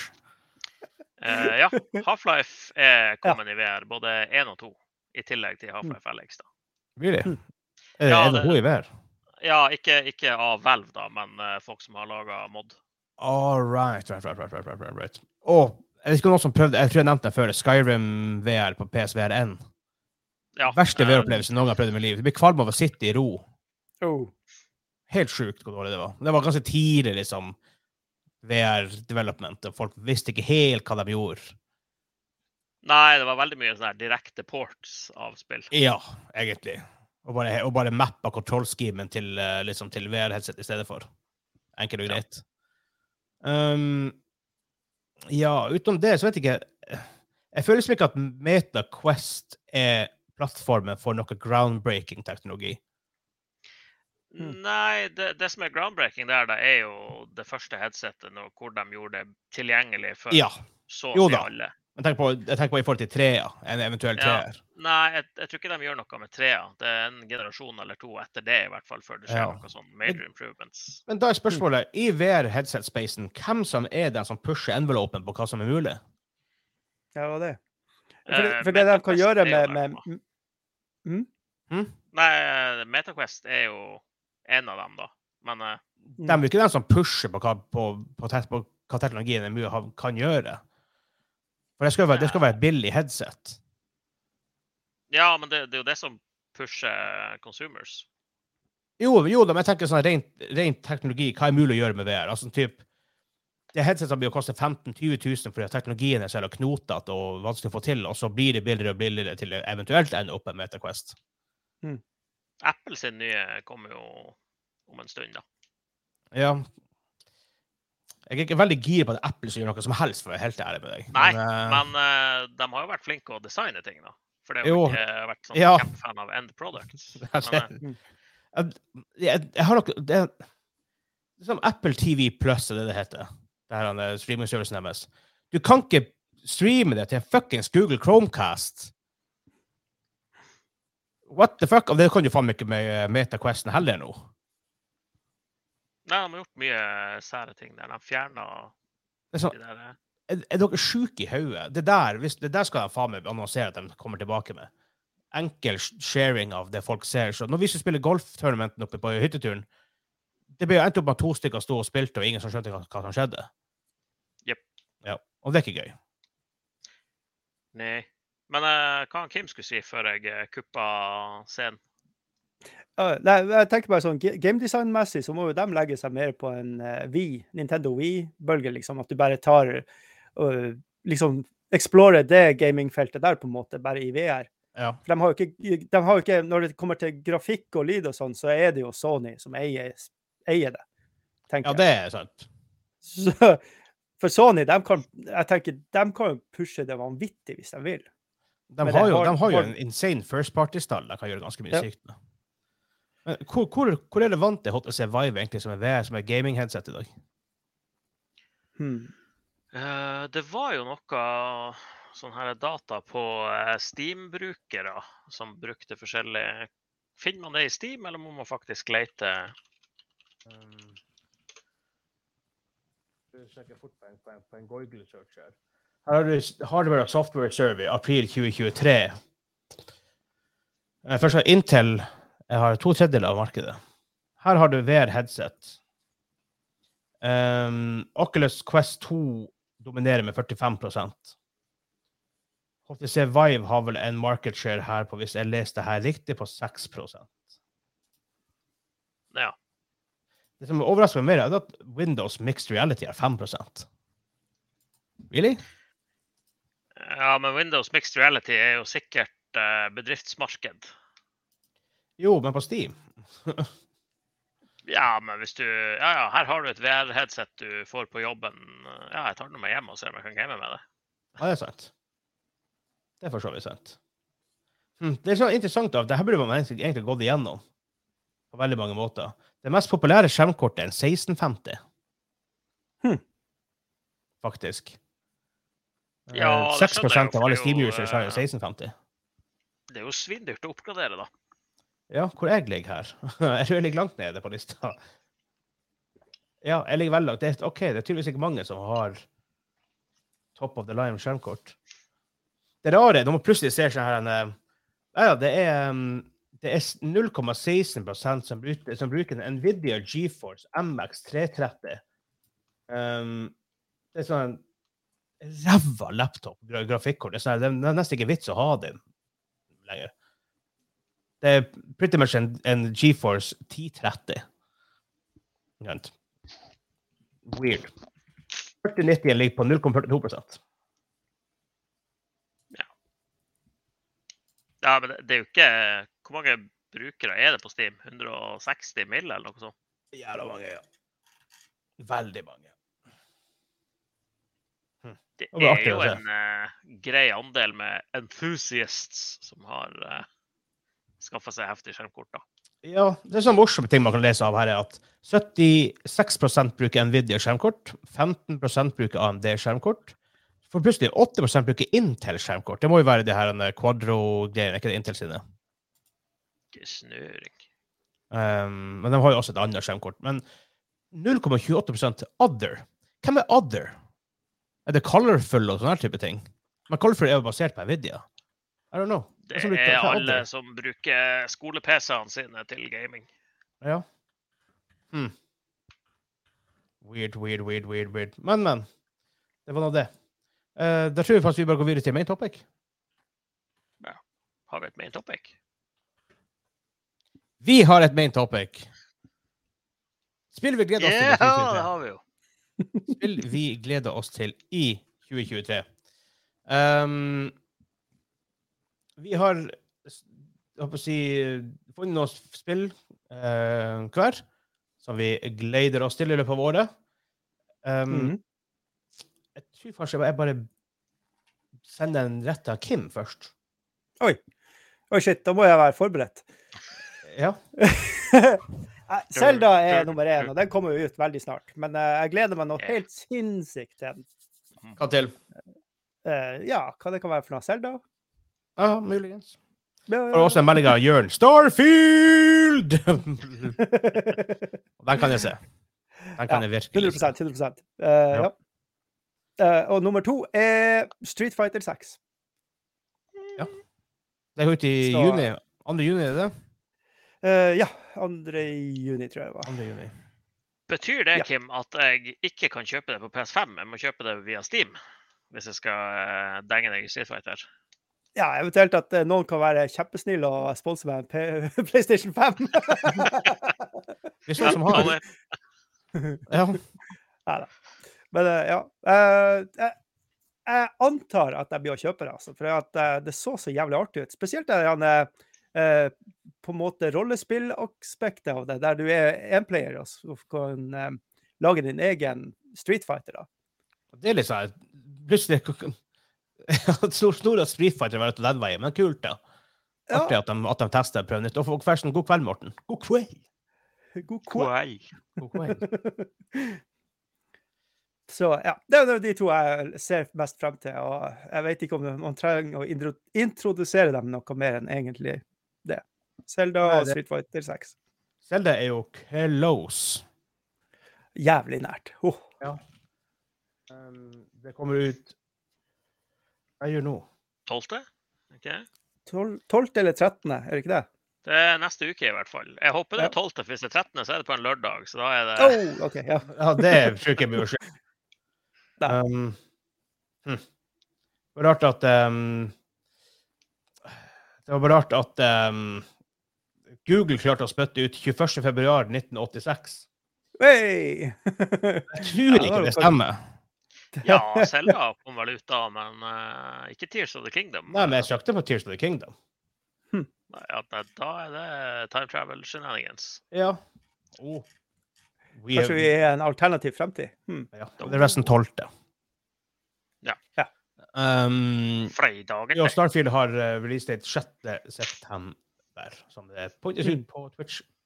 Eh, ja, Half-Life
*laughs*
er kommet i VR, både 1 og 2, i tillegg
Mm.
til Half-Life Alex. da.
Really?
Mm.
Er det,
Ja,
er det
det-
hun i VR?
Ja, ikke, ikke av Valve, da, men eh, folk som har laga mod.
All right, right, right, right, right, right, right, right. Og jeg husker noen som prøvde, jeg tror jeg nevnte det før, Skyrim VR på PSVR1.
Ja,
Verste
eh,
VR-opplevelsen noen gang jeg prøvde i mitt liv. Du blir kvalm av å sitte i ro.
Oh.
Helt sjukt hvor dårlig det var. Det var ganske tidlig, liksom, VR-development, og folk visste ikke helt hva de gjorde.
Nei, det var veldig mye sånne her direkte ports av spill.
Ja, egentlig. Og bare, og bare mappa kontrollskimen til, eh, liksom, til VR-headset i stedet for. Enkelt og
Ja.
greit. Um, ja, utenom det så vet jeg ikke Jeg føler liksom ikke at Meta Quest er plattformen for noe groundbreaking teknologi.
Mm.
Nei, det, det som er groundbreaking der, da, er jo det første headsetet nå, hvor de gjorde det tilgjengelig for
Ja.
så
Jo
til
da.
alle.
Jeg tenker på, jeg tenker på i forhold til trea, en eventuell
Ja.
treer.
Nei, jeg, jeg tror ikke de gjør noe med trea. Det er en generasjon eller to etter det, i hvert fall, før det skjer
Ja.
noe sånn major improvements.
Men da er spørsmålet, i VR-headset-spacen, hvem som er den som pusher envelopen på hva som er mulig?
Ja, det var det. For,
Eh,
for det de kan
Meta
gjøre
Quest er jo
med,
der
med
på.
Hm?
Nei, eh, MetaQuest er jo en av dem, da. Men eh,
De er jo ikke den som pusher på hva, på, på, te- på hva teknologien er mulig, ha- kan gjøre. For det skal jo være, det skal være et billig headset.
ja, men det, det er jo det som pusher consumers.
Jo, jo da, men jeg tenker sånn rent, rent teknologi, hva er mulig å gjøre med VR? Altså typ, det er headset som blir å koste 15 000-20 000 fordi at teknologien er så jævla knotete og vanskelig å få til, og så blir det billigere og billigere til det eventuelt ender opp med MetaQuest.
Apple sin nye kommer jo om en stund, da.
Ja. Jeg er ikke veldig gira på at Apple skal gjøre noe som helst, for å være helt ærlig med deg.
Nei,
eh,
Men eh, de har jo vært flinke å designe ting, da. For det har
Jo.
jo ikke vært sånn
Ja.
kjempefan av end products.
*laughs*
Men, eh,
*laughs* jeg, jeg, jeg har nok det, er- det er som Apple TV Plus er det det heter. Det her han, eh, streamingservicen deres. Du kan ikke streame det til fuckings Google Chromecast. What the fuck? Og det kan du faen meg ikke med eh, MetaQuesten heller nå.
Nei, de har gjort mye eh, sære ting der. De fjerna
Det er, sånn,
de der eh,
er, er dere sjuke i hodet? Det, der- hvis- det der skal de faen meg annonsere at de kommer tilbake med. Enkel sh- sharing av det folk ser. Så når vi skulle spille golfturnamenten oppe på hytteturen, det ble jo endt opp med at to stykker sto og spilte, og ingen som skjønte hva, hva som skjedde.
Jep.
Ja, og det er ikke gøy.
Nei. Men eh, hva han Kim skulle si før jeg eh, kuppa scenen?
Ja, Nei, jeg tenker bare sånn, ga- Gamedesign-messig så må jo de legge seg mer på en eh, Wii, Nintendo Wii-bølge. liksom, At du bare tar og liksom explorer det gamingfeltet der, på en måte, bare i VR.
Ja.
For de har jo ikke, de har jo ikke Når det kommer til grafikk og lyd og sånn, så er det jo Sony som eier, eier det. tenker
ja,
jeg.
det er sant.
*laughs* Så, for Sony, de kan, jeg tenker, de kan jo pushe det vanvittig hvis de vil.
De
Men
har,
det
jo,
har-
de har jo
har-
en insane first party-stall de kan gjøre ganske mye
Ja.
sykt med. Men hvor, hvor, hvor relevant er HTC Vive egentlig som er VR, som er gaming-headset i dag?
Hmm.
Eh, det var jo noe sånn her data på eh, Steam-brukere som brukte forskjellig Finner man det i Steam, eller må man faktisk lete?
Ehm,
Um,
Her har du Hardware og Software Survey, april 2023. Eh, Først har Intel jeg har to tredjedeler av markedet. Her har du VR-headset. Um, Oculus Quest 2 dominerer med 45 HTC Vive har vel en market share her på, hvis jeg leser det her riktig, på 6
Ja.
Det som overrasker meg mer, er at Windows Mixed Reality er 5 Really?
ja, men Windows Mixed Reality er jo sikkert eh, bedriftsmarked.
Jo, men på Steam.
Ja, men hvis du Ja, ja, her har du et VR-headset du får på jobben. Ja, jeg tar det med hjem og ser om jeg kan game med det.
Ja, det er sant. Det er for så vidt sant. Hm, Det er så interessant at det her burde man egentlig, egentlig gått igjennom på veldig mange måter. Det mest populære skjermkortet er en 1650.
Hm.
Faktisk.
Ja,
Eh,
det
6
skjønner jeg jo,
av alle
for det er jo,
Steam-users har
eh,
en 1650.
Det er jo svindyrt å oppgradere, da.
Ja, hvor jeg ligger her? *laughs* jeg tror jeg ligger langt nede på lista. Ja, jeg ligger veldig langt. Det er, OK, det er tydeligvis ikke mange som har top of the line skjermkort. Det rare er når man plutselig ser sånn her en, eh, Ja, ja, det er, um, det er s- 0,16 som, bruk- som bruker en Nvidia GeForce MX 330. Um, det er sånn en ræva laptop, gra- grafikkort. Det er, sånn, her, det er nesten ikke vits å ha den lenger. Det er pretty much en, en GeForce 1030. Vent. Weird. 4090 ligger på 0,42
Ja, men det- det er jo ikke Hvor mange brukere er det på Steam? 160 mill., eller noe sånt?
Jævla mange, ja. Veldig mange.
Det
Det var
er
artig
jo
å se.
en eh, grei andel med enthusiasts som har uh, skaffa seg heftig skjermkort, da.
Ja, det er sånn morsomme ting man kan lese av her, er at 76 bruker Nvidia-skjermkort, 15 bruker AMD-skjermkort, for plutselig 8 bruker Intel-skjermkort. Det må jo være det her eh, Quadro-greiene, er ikke det Intel sine?
Ikke snøring.
Um, men de har jo også et annet skjermkort. Men 0,28 other. Hvem er other? Er det colorful og sånne her type ting? Men colorful er jo basert på Nvidia. I don't know.
Det
Hva som bruker-
er
hva er
alle
other?
som bruker skole-PC-ene sine til gaming.
Ja. Hmm. Weird, weird, weird, weird, weird. Men, men. Det var nå det. Eh, da tror jeg faktisk vi bare går videre til main topic.
Har vi et main topic?
Vi har et main topic. Spill vi gleder oss til.
Ja,
i 2023.
det har vi jo.
spill vi gleder oss til i 2023. Ehm, vi har s- jeg håper å si, funnet noen spill eh, hver som vi gleder oss til i løpet av året. Ehm,
Mhm.
Jeg tror kanskje jeg bare sender en rett til Kim først.
Oi, shit, da må jeg være forberedt. *laughs*
Ja.
Nei, Zelda er nummer én, og den kommer jo ut veldig snart. Men eh, jeg gleder meg noe
Ja.
helt sinnssykt til den.
Hva til?
eh, ja, hva det kan være for noe? Selda?
Ja, muligens. Og også en melding av Jørn Starfield! *laughs* Den
*laughs*
kan jeg se. Den kan
Ja,
jeg virkelig
100
se.
100 Eh, ja. Eh, og nummer to er Street Fighter 6.
Det er jo ute i
Så-
juni. 2. juni, er det det?
Eh, ja, 2. juni, tror jeg det var.
2. juni.
Betyr det,
Ja.
Kim, at jeg ikke kan kjøpe det på PS5? Jeg må kjøpe det via Steam hvis jeg skal eh, denge deg i Street Fighter?
Ja, eventuelt at eh, noen kan være kjempesnill og sponse meg en P *laughs* PlayStation 5.
Hvis
Ja,
noen som har
og det-
ja.
Men eh, ja. eh, jeg, jeg antar at jeg blir å kjøpe det, altså. For at, eh, det så så jævlig artig ut. Spesielt det derne, eh, på en måte rollespillaspektet av det, der du er enplayer og så kan eh, lage din egen Street Fighter. da.
Det er litt sånn Plutselig *laughs* At Stor Snor og Street Fighter var ute den veien, men kult, da.
Ja.
Artig at de, at de tester og prøver nytt. Og for- forresten, god kveld, Morten. God kveld.
God kål.
Kuai.
God kveld.
*laughs* Så ja, det er jo de to jeg ser mest frem til. Og jeg vet ikke om man trenger å intro introdusere dem noe mer enn egentlig det. Selda
Nei,
og
det-
Street Fighter 6.
Zelda er jo close.
Jævlig nært. Åh.
Um, det kommer ut Hva gjør nå?
Tolvte? Ok.
12, 12. eller 13., er det ikke det?
Det er neste uke, i hvert fall. Jeg håper det
Ja.
er tolvte, for hvis det er 13., så er det på en lørdag. Så da er det
Oh, ok, ja.
Ja, det tror jeg ikke jeg blir å *laughs* skje.
Nei.
Um, hm. Det var rart at um, Det var bare rart at um, Google klarte å spytte ut 21.2.1986. *laughs*
Hey!
Jeg
Ja,
tror
det
ikke
var
det
jo-
stemmer.
Ja, Selda kom vel ut da, men eh, ikke Tears of the Kingdom.
Nei, men jeg søkte på Tears of the Kingdom.
Nei, ja, da- da er det time travel shenanigans.
Ja. Oh. We
Kanskje vi
have,
er en alternativ fremtid? Hmm.
ja. Det er resten tolvte.
Ja.
Ja.
Um,
Fredagen.
ja, Starfield har eh, release date 6. september, som det er på, på Twitch.
Eh,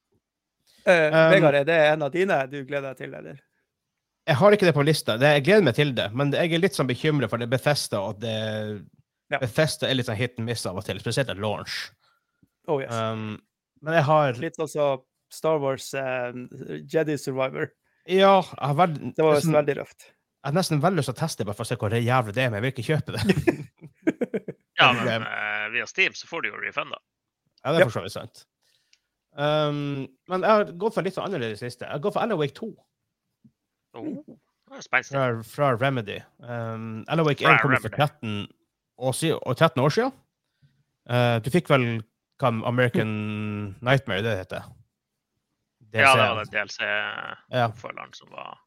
Um,
Vegard, er det en av dine du gleder deg til, eller?
Jeg har ikke det på lista. Det, jeg gleder meg til det, men jeg er litt sånn bekymra for det Bethesda, og at det
Ja.
Bethesda er litt sånn hit and miss av og til, spesielt at launch.
Oh, yes.
Um, men jeg har
Litt også Star Wars eh, Jedi Survivor.
Ja, jeg har veld,
Det var jo
nesten,
veldig røft.
jeg har nesten veldig lyst til å teste det, bare for å se hvor det jævlig det er, men jeg vil ikke kjøpe det.
*laughs*
Ja, men eh, via Steam så får du jo refunda.
Ja, det
Ja.
er for så vidt sant. Um, men jeg har gått for litt sånn annerledes i siste. Jeg har gått for Alan Wake 2
Oh, det er spenstig.
fra, fra Remedy. Um, Alan Wake
Fra
1 kom ut for
Remedy.
13 år, si- og 13 år siden. Uh, du fikk vel hva American Nightmare, det heter. DLC.
Ja, det var den DLC-oppfølgeren
Ja.
som var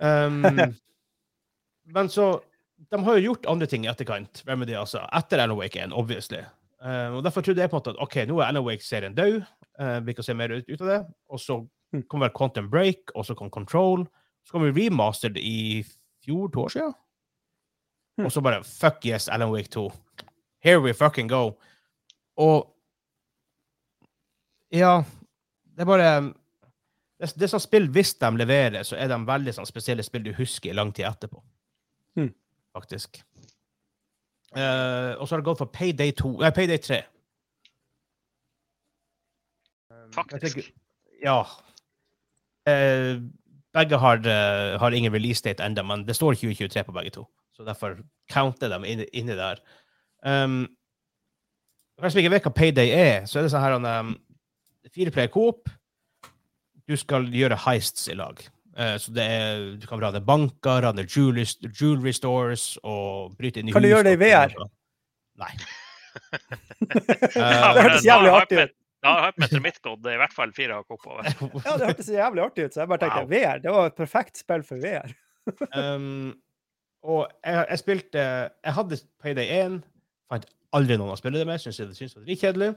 Um, *laughs* men så De har jo gjort andre ting i etterkant, Remedy, altså. Etter Alan Wake 1, obviously. Eh, og Derfor trodde jeg på en måte at OK, nå er Alan Wake-serien død. Uh, vi kan se mer ut, ut av det. Og så
Mm.
kom vel Quantum Break, og så kom Control. Så kom vi remastered i fjor, to år siden.
Mm.
Og så bare Fuck yes, Alan Wake 2. Here we fucking go. Og Ja, det er bare um, det, det som spill, hvis de leverer, så er de veldig sånn, spesielle spill du husker i lang tid etterpå.
Hmm.
Faktisk. Eh, og så har det gått for Payday 2 Nei, Payday 3.
faktisk
tenker- Ja. Eh, begge har, eh, har ingen release date ennå, men det står 2023 på begge to. Så derfor counter de inni, inni der. Um, for de som ikke vet hva Payday er, så er det sånn her um, fireplayer coop. Du skal gjøre heists i lag. Eh, så det er, du kan rane banker, rane jewelry, jewelry stores og bryte inn i
Kan du
hus
gjøre det i
og- sånn.
VR?
Nei.
Ja,
Eh, det
for da
hørtes
har
jævlig
jeg
artig
hype- Da har hypemeteret mitt gått i hvert fall fire hakk oppover.
*laughs*
Ja, det hørtes jævlig artig ut, så jeg bare tenkte VR, det var et perfekt spill for VR.
Um, og jeg, jeg spilte Jeg hadde Payday 1. Fant aldri noen å spille det med. Syntes jeg det syntes det var dritkjedelig.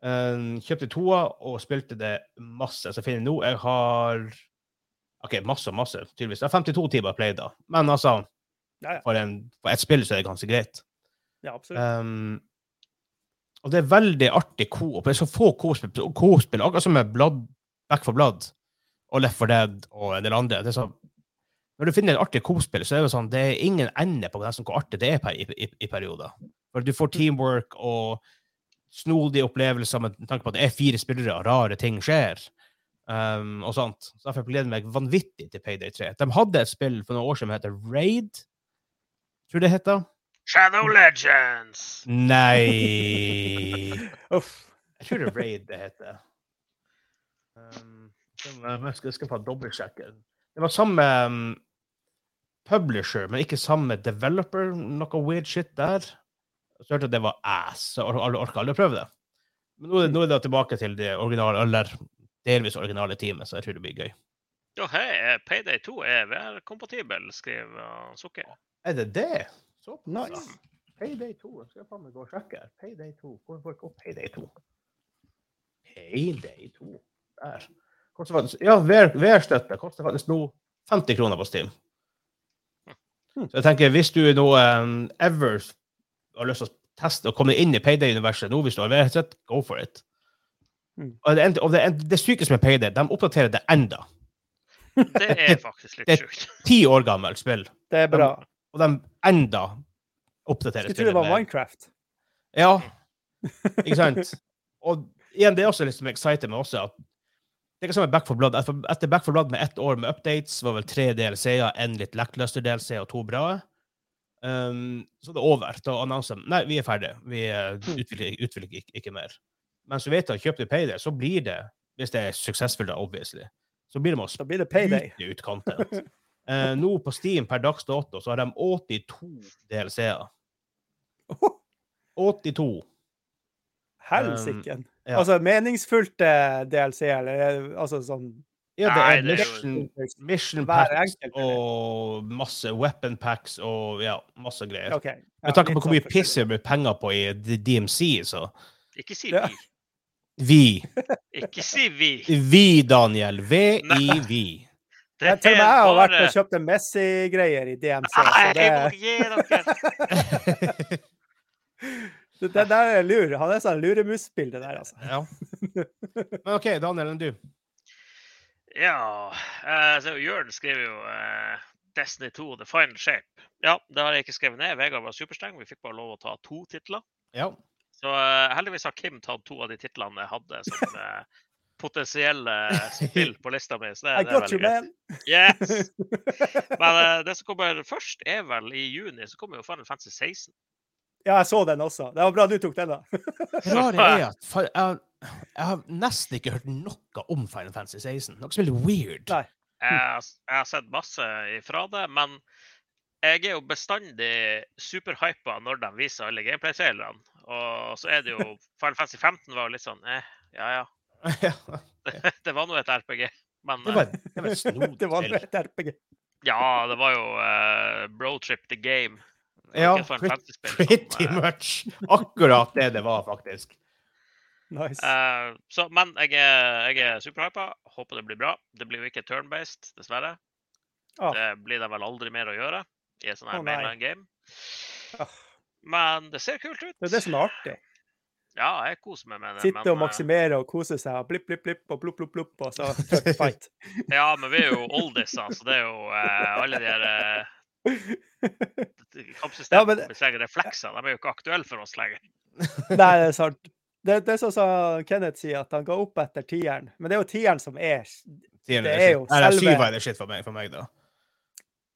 Um, kjøpte toa og spilte det masse. Så finner jeg nå Jeg har OK, masse og masse, tydeligvis. Jeg har 52 timer play, da. Men altså,
Ja, ja.
for, en, for et spill så er det ganske greit.
ja absolutt.
Um, Ehm, og det er veldig artig co-op. Det er så få co-spill, co-spill akkurat som med Blood, Back for Blood og Left for Dead og en del andre. Det er så, Når du finner et artig Coop-spill, så er det jo sånn, det er ingen ende på nesten hvor artig det er per, i, i, i perioder. For du får teamwork og snodige opplevelser med tanke på at det er fire spillere, og rare ting skjer. Um, og sånt. Så Derfor gleder jeg meg vanvittig til Payday 3. De hadde et spill for noen år siden som heter Raid. Tror det heter.
Shadow Legends!
Nei
Uff.
Jeg tror det er Raid det heter. Um, den var- jeg skal, jeg skal få dobbeltsjekke. Det var samme um, publisher, men ikke samme developer. Noe weird shit der. Så hørte jeg at det var ass, så or or orka aldri å prøve det. Men nå, er- nå er det tilbake til det originale, eller delvis originale teamet, så jeg tror det blir gøy.
Jo, hei, eh, Payday 2 er VR-kompatibel, skriver han, Sukker.
Er det det? Så
Nice.
Payday 2. Jeg skal faen meg gå og sjekke her. Payday 2. Hvor får jeg opp Payday 2? Payday 2. Der. Koster faktisk, ja, VR- VR-støtte koster faktisk nå 50 kroner på Steam.
Hm.
Så jeg tenker, hvis du nå em, ever har lyst til å teste og komme inn i Payday-universet nå, hvis du har VR-støtte, go for it.
Mm.
Og det, og det, det sykeste med Payday, de oppdaterer det enda.
Det er faktisk litt
Det-
sjukt.
Ti år gammelt spill,
Det er bra.
og de enda oppdaterer
Skulle tro det var
med-
Minecraft.
Ja. Ikke sant? Og igjen, det er også litt som exciting med også at det er ikke som med Back 4 Blood. Etter- Etter Back 4 Blood med ett år med updates var vel tre DLC-er, en litt lackluster DLC og to bra. Um, så det er over. Da annonser de nei, vi er ferdige. Vi eh, utvikler, utvikler ikke, ikke mer. Mens du vet at kjøper du Payday, så blir det, hvis det er suksessfullt, da, obviously, så blir det med å
Da blir det payday.
sprute ut content. Eh, nå på Steam per dags dato så har de 82 DLC-er. 82.
Helsiken.
ja.
Altså meningsfullte DLC, eller eh, altså sånn
Ja, det er
Nei, det er jo-
mission, mission
Hver
packs
enkelt, eller?
og masse weapon packs og ja, masse greier.
OK.
Med tanke
sånn
på hvor mye piss det blir penger på i D- DMC, så
Ikke si
Ja.
vi.
Vi.
Ikke si vi.
Vi, Daniel. V-i-vi.
Det
Til og med jeg har vært
bare-
og kjøpt en Messi-greier i DMC. Så
Nei,
det,
jeg må gi
*laughs*
dere!
det, det der er lur. Han er sånn luremus-bilde der, altså. *laughs*
ja. Men OK, Daniel enn du.
Ja eh, så Jørn skriver jo eh, Destiny 2, The Final Shape. Ja, det har jeg ikke skrevet ned. Vegard var superstreng. Vi fikk bare lov å ta to titler.
Ja.
Så eh, heldigvis har Kim tatt to av de titlene jeg hadde
*laughs*
som eh, potensielle eh, spill på lista mi. Så det,
I
det er
got you,
veldig greit.
man.
Yes!
*laughs*
Men eh, det som kommer først, er vel i juni, så kommer jo Final Fantasy 16.
Ja, jeg så den også. Det var bra du tok den, da.
Det rare *laughs* er at fa- jeg, jeg har nesten ikke hørt noe om Final Fantasy 16. Noe som er litt weird.
Nei.
Jeg, har s- jeg har sett masse ifra det, men jeg er jo bestandig superhypa når de viser alle gameplay-trailerne. Og så er det jo Final Fantasy 15 var jo litt sånn eh, ja ja. *laughs*
*laughs* Ja,
Det var nå et RPG. Men
det
eh,
var, *laughs* det var et snodig
*laughs* Det var
spill.
et RPG.
ja, det var jo eh, Brotrip the Game. Det var
Ja,
ikke et Final
pretty-
Fantasy-spill som,
Pretty
eh,
much *laughs* akkurat det det var, faktisk.
Nice.
Eh, så, men jeg er, jeg er superhypa. Håper det blir bra. Det blir jo ikke turn-based, dessverre.
Ah.
Det blir det vel aldri mer å gjøre i en sånn her
Å, nei.
mainline game.
Ah.
Men det ser kult ut.
Det er det som er artig.
Ja, jeg koser meg med det.
Sitte
men,
og
eh,
maksimere og kose seg. og Blipp, blipp, blipp, og plopp, plopp, plopp, og så fuck,
*laughs*
fight.
eh, ja, men vi er jo oldiser, så det er jo eh, alle de her eh,
Ja, men-
kampsystemene hvis jeg reflekser, de er jo ikke aktuelle for oss lenger.
Nei, det er sant. Det, det er sånn som Kenneth sier, at han ga opp etter tieren. Men det er jo tieren som er
Sier det
Det er
shit.
jo
Nei, det er
selve-
syv er det shit for meg, for meg da.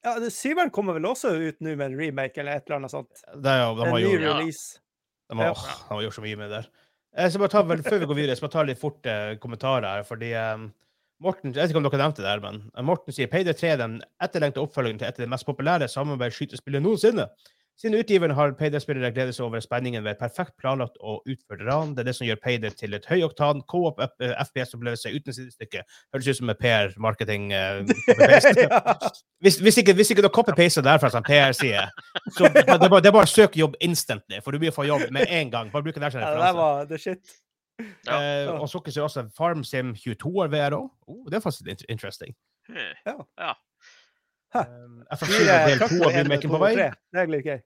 ja, det- Syveren kommer vel også ut nå med en remake eller et eller annet sånt?
Det er jo, de
En
har
ny
jo
Ja.
release.
de har,
ja.
åh, de har gjort så mye med det der. Jeg skal bare ta, vel, før vi går videre, så bare ta litt fort eh, kommentarer her, fordi eh, Morten, jeg vet ikke om dere nevnte det her, men eh, Morten sier Payday 3 er den etterlengta oppfølgingen til et av de mest populære samarbeidsskytespillene noensinne. Siden utgiveren har Payday-spillere gledet seg over spenningen ved et perfekt planlagt og utført ran. Det er det som gjør Payday til et høyoktan co-op eh, FPS-opplevelse uten sidestykke. Høres ut som en PR-marketing. Uh,
*laughs* Ja.
Hvis, hvis, ikke, hvis ikke du copy-paster der fra en PR-side, så det er bare, det er bare å søke jobb instantly, for du blir få jobb med en gang. Bare bruk det der som
Ja, det der
referanse.
var the
*laughs*
shit.
Ja.
Eh, og så sier også FarmSim 22 er VR òg. Oh, det er faktisk litt interesting.
Hm.
Hæ.
Um, FF7 er del 2 av remaken på vei,
Det er litt gøy.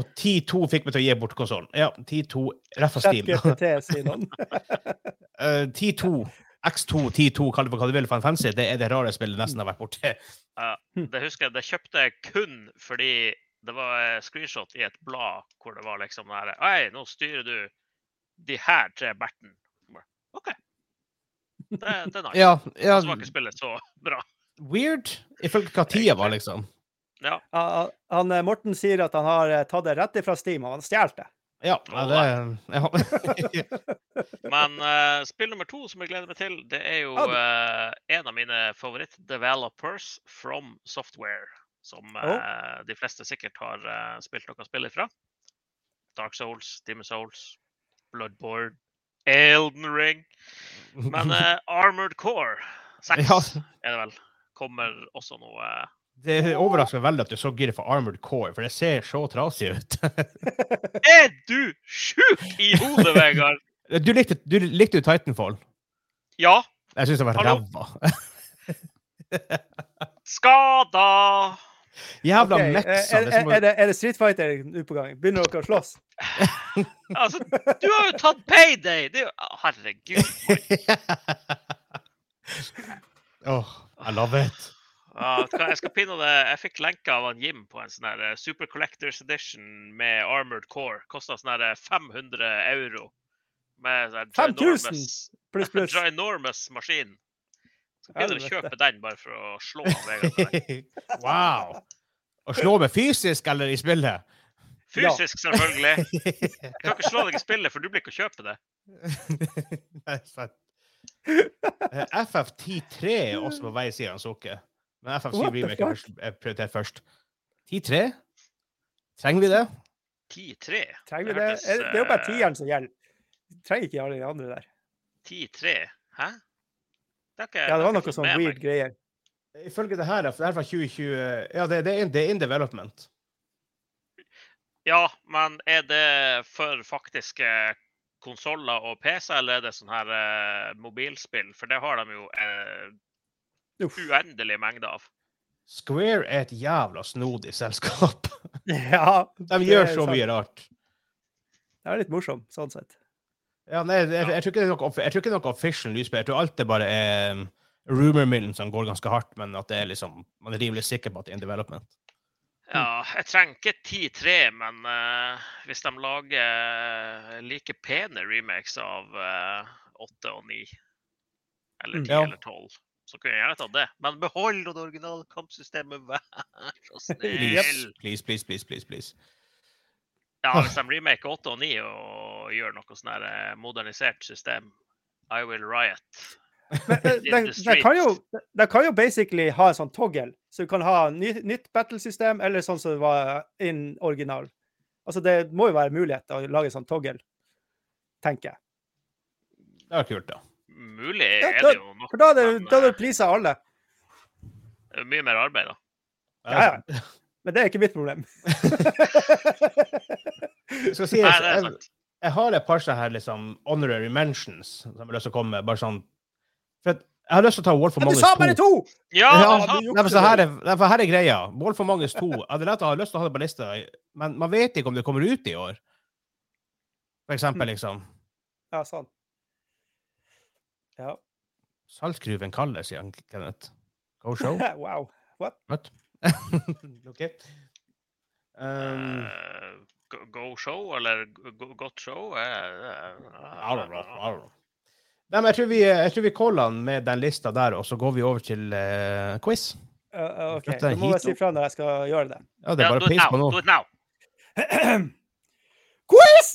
og 10.2 fikk meg til å gi bort konsollen. Ja, 10.2 rett fra Steam. *laughs*
ChatGPT, sier noen.
Eh, 10.2 X2, 10-2, kall det hva du vil, Final Fantasy, det er det rare spillet jeg nesten har vært borti.
Det husker jeg, det kjøpte jeg kun fordi det var eh, screenshot i et blad hvor det var liksom det her Hei, nå styrer du de her tre bertene. Bare, OK. Det, det er nice.
Ja, ja,
Så var ikke spillet så bra.
weird, ifølge hva tida var, liksom.
Ja, Han, eh, Morten sier at han har eh, tatt det rett ifra Steam, og han stjal det.
Ja, ja det jeg, har-
Men eh, spill nummer to som jeg gleder meg til, det er jo
Ja, det-
eh, en av mine favoritt-developers from software. Som eh, de fleste sikkert har eh, spilt noe spill ifra. Dark Souls, Demon Souls, Bloodborne, Elden Ring.
*laughs*
Men eh, Armored Core 6
Ja.
er det vel. Kommer også nå. eh,
Det overrasker meg veldig at du er så gira for Armored Core, for det ser så trasig ut. *laughs*
er du sjuk i hodet, Vegard?
Du likte, du likte jo Titanfall.
Ja,
Jeg syns det var
Hallo?
ræva. *laughs*
skada!
Jævla
Ok, eh,
meksa.
er,
Det
er,
som å-
er, det, er det Street Fighter nå på gang? Begynner dere å slåss?
Altså, du har jo tatt payday! Det er jo, herregud.
*laughs* Åh, I love it. *laughs*
Ja, hva- jeg skal pinne det. Jeg fikk lenke av han Jim på en sånn her eh, Super Collectors Edition med Armored Core. Kosta sånn her eh, 500 euro. Med sånn
5000?
ginormous-
Pluss, pluss.
ginormous maskin. Så begynner du å
Helvete.
kjøpe den bare for å slå han Vegard. med den.
wow. Å slå meg fysisk eller i spillet? *laughs*
Ja.
Fysisk, selvfølgelig. Jeg kan ikke slå deg i spillet, for du blir ikke å kjøpe det.
Nei, sant. Eh, FF103 er også på vei, sier han Sukke. Men FF7
What the
Remake er først- er prioritert først. 103? Trenger vi det?
10-3.
Trenger vi det? Er, det er jo
eh,
bare tieren som gjelder. Trenger ikke alle de andre der.
10-3? Hæ? Det er ikke,
Ja, det var
har jeg ikke
noe
fått
sånn
med
weird
meg. *laughs*
greier.
Ifølge det her, for det er fra 2020 Ja, det, det, er, in, det er in development.
Ja, men er det for faktiske konsoller og PC, eller er det sånn her eh, mobilspill? For det har de jo eh,
Uff.
uendelige mengder av.
Square er et jævla snodig selskap. *laughs*
Ja,
De
det
gjør
er
så
sant.
mye rart.
Det er litt morsomt, sånn sett.
Ja, nei, jeg, jeg, tror ikke det er noe, off- jeg tror ikke det er noe official lysspill. Jeg tror alt det bare er um, rumor millen som går ganske hardt, men at det er liksom, man er rimelig sikker på at det er in development.
Ja,
Mm.
jeg trenger ikke 10-3, men eh, hvis de lager like pene remakes av eh, 8 og 9, eller
Mm.
10
Ja.
eller 12, så kunne jeg gjerne tatt det. Men behold det originale kampsystemet, vær så snill!
Please, please, please, please, please, please.
Ja, hvis de remaker 8 og 9 og gjør noe sånn her eh, modernisert system, I will riot.
Men
*laughs*
eh,
In
de,
the
de, kan jo,
streets.
de, de kan jo basically ha en sånn toggle, så du kan ha ny, nytt battlesystem, eller sånn som det var in original. Altså, det må jo være mulighet til å lage en sånn toggle, tenker jeg.
Det var kult, da.
Mulig
Ja,
er
da-
det jo nok,
For da hadde du-
men,
da hadde
eh,
du pleasa alle.
det er mye mer arbeid, da.
Ja, Men det er ikke mitt
*laughs*
problem. *laughs*
*laughs* Jeg skal si,
Nei, det er
jeg,
sant.
jeg har et par sånne her liksom honorary mentions som jeg har lyst til å komme med. Bare sånn For at jeg har lyst til å ta Wolf of
Men du
Mangus
sa bare
2.
to!
Ja,
Ja,
han-
du
Nei,
jukser
men så her er, nei, for her er greia. Wolf of Mangus 2 Jeg hadde lett å ha lyst til å ha det på lista, men man vet ikke om det kommer ut i år. For eksempel, liksom.
Ja, sånn. Ja. *laughs*
Saltkruven kaller, sier han, Kenneth. Go *laughs* show.
Wow.
OK. Um,
eh, go- Go show, eller go- godt show? eh, eh,
I don't know, I don't know. Nei, men jeg tror vi, jeg tror vi caller han med den lista der, og så går vi over til eh, quiz.
Ja, ja, OK.
Dette er
Da må jeg
hito.
si fra når jeg skal gjøre det. *clears throat*
Ja, det er
Ja, do
bare
it
pis
now,
på nå.
do it now.
Quiz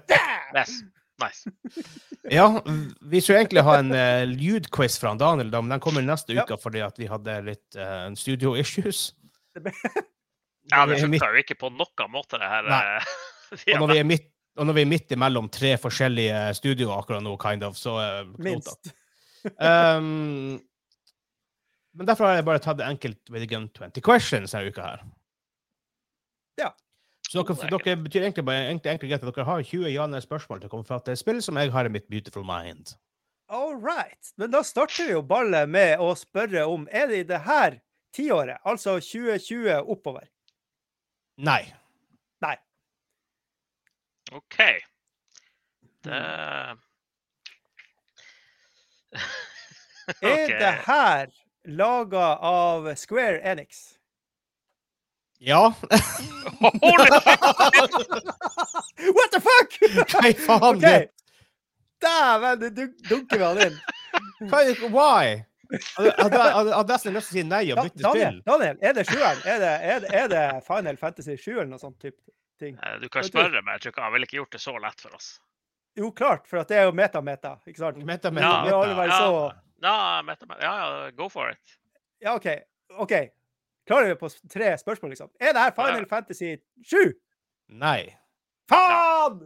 time!
Yes.
*laughs*
Nice.
Ja, vi skulle egentlig ha en eh, lydquiz fra han Daniel, da, men den kommer neste
Ja.
uke fordi at vi hadde litt eh, studio issues.
Det ble-
Ja, det
vi er midt-
funka jo ikke på noen måte, det her.
Nei.
eh, *laughs*
og, når
firmaet.
vi er midt, og når vi er midt imellom tre forskjellige studioer akkurat nå, kind of, så eh, knota.
Minst.
Um, men derfor har jeg bare tatt det enkelt with the gun 20 questions denne uka her.
Ja.
Så dere,
Oh, det er
dere betyr egentlig bare egentlig, egentlig greit at dere har 20 ja-nei-spørsmål til å komme fra til et spill som jeg har i mitt beautiful mind.
All right. Men da starter vi jo ballet med å spørre om er det i det her tiåret, altså 2020 oppover.
Nei.
OK. Det
Er
Ok.
det her laga av Square Enix?
Ja, *laughs* Mm.
*laughs* Holy shit!
What the
*laughs*
fuck?!
hva i faen?
OK! Dæven, du dunk- dunker vi han inn.
Hva- Why? Hadde- Hadde hadde- hadde nesten lyst til å si nei og
Da-
bytte
Daniel,
spill.
Daniel, er det sjueren? Er det, er det, er det Final Fantasy 7 eller noe sånt typ ting?
Eh, Du kan
Vet du-
spørre, men jeg tror ikke han ville ikke gjort det så lett for oss.
Jo, klart, for at det er jo meta-meta, ikke sant?
Meta, meta,
Ja,
Vi har alle
meta.
vært
Ja.
så
Ja, Metaman- ja, ja, go for it.
Ja, OK. ok. Klarer vi på s- tre spørsmål, liksom? Er det her Final Fantasy 7?
Nei.
Faen!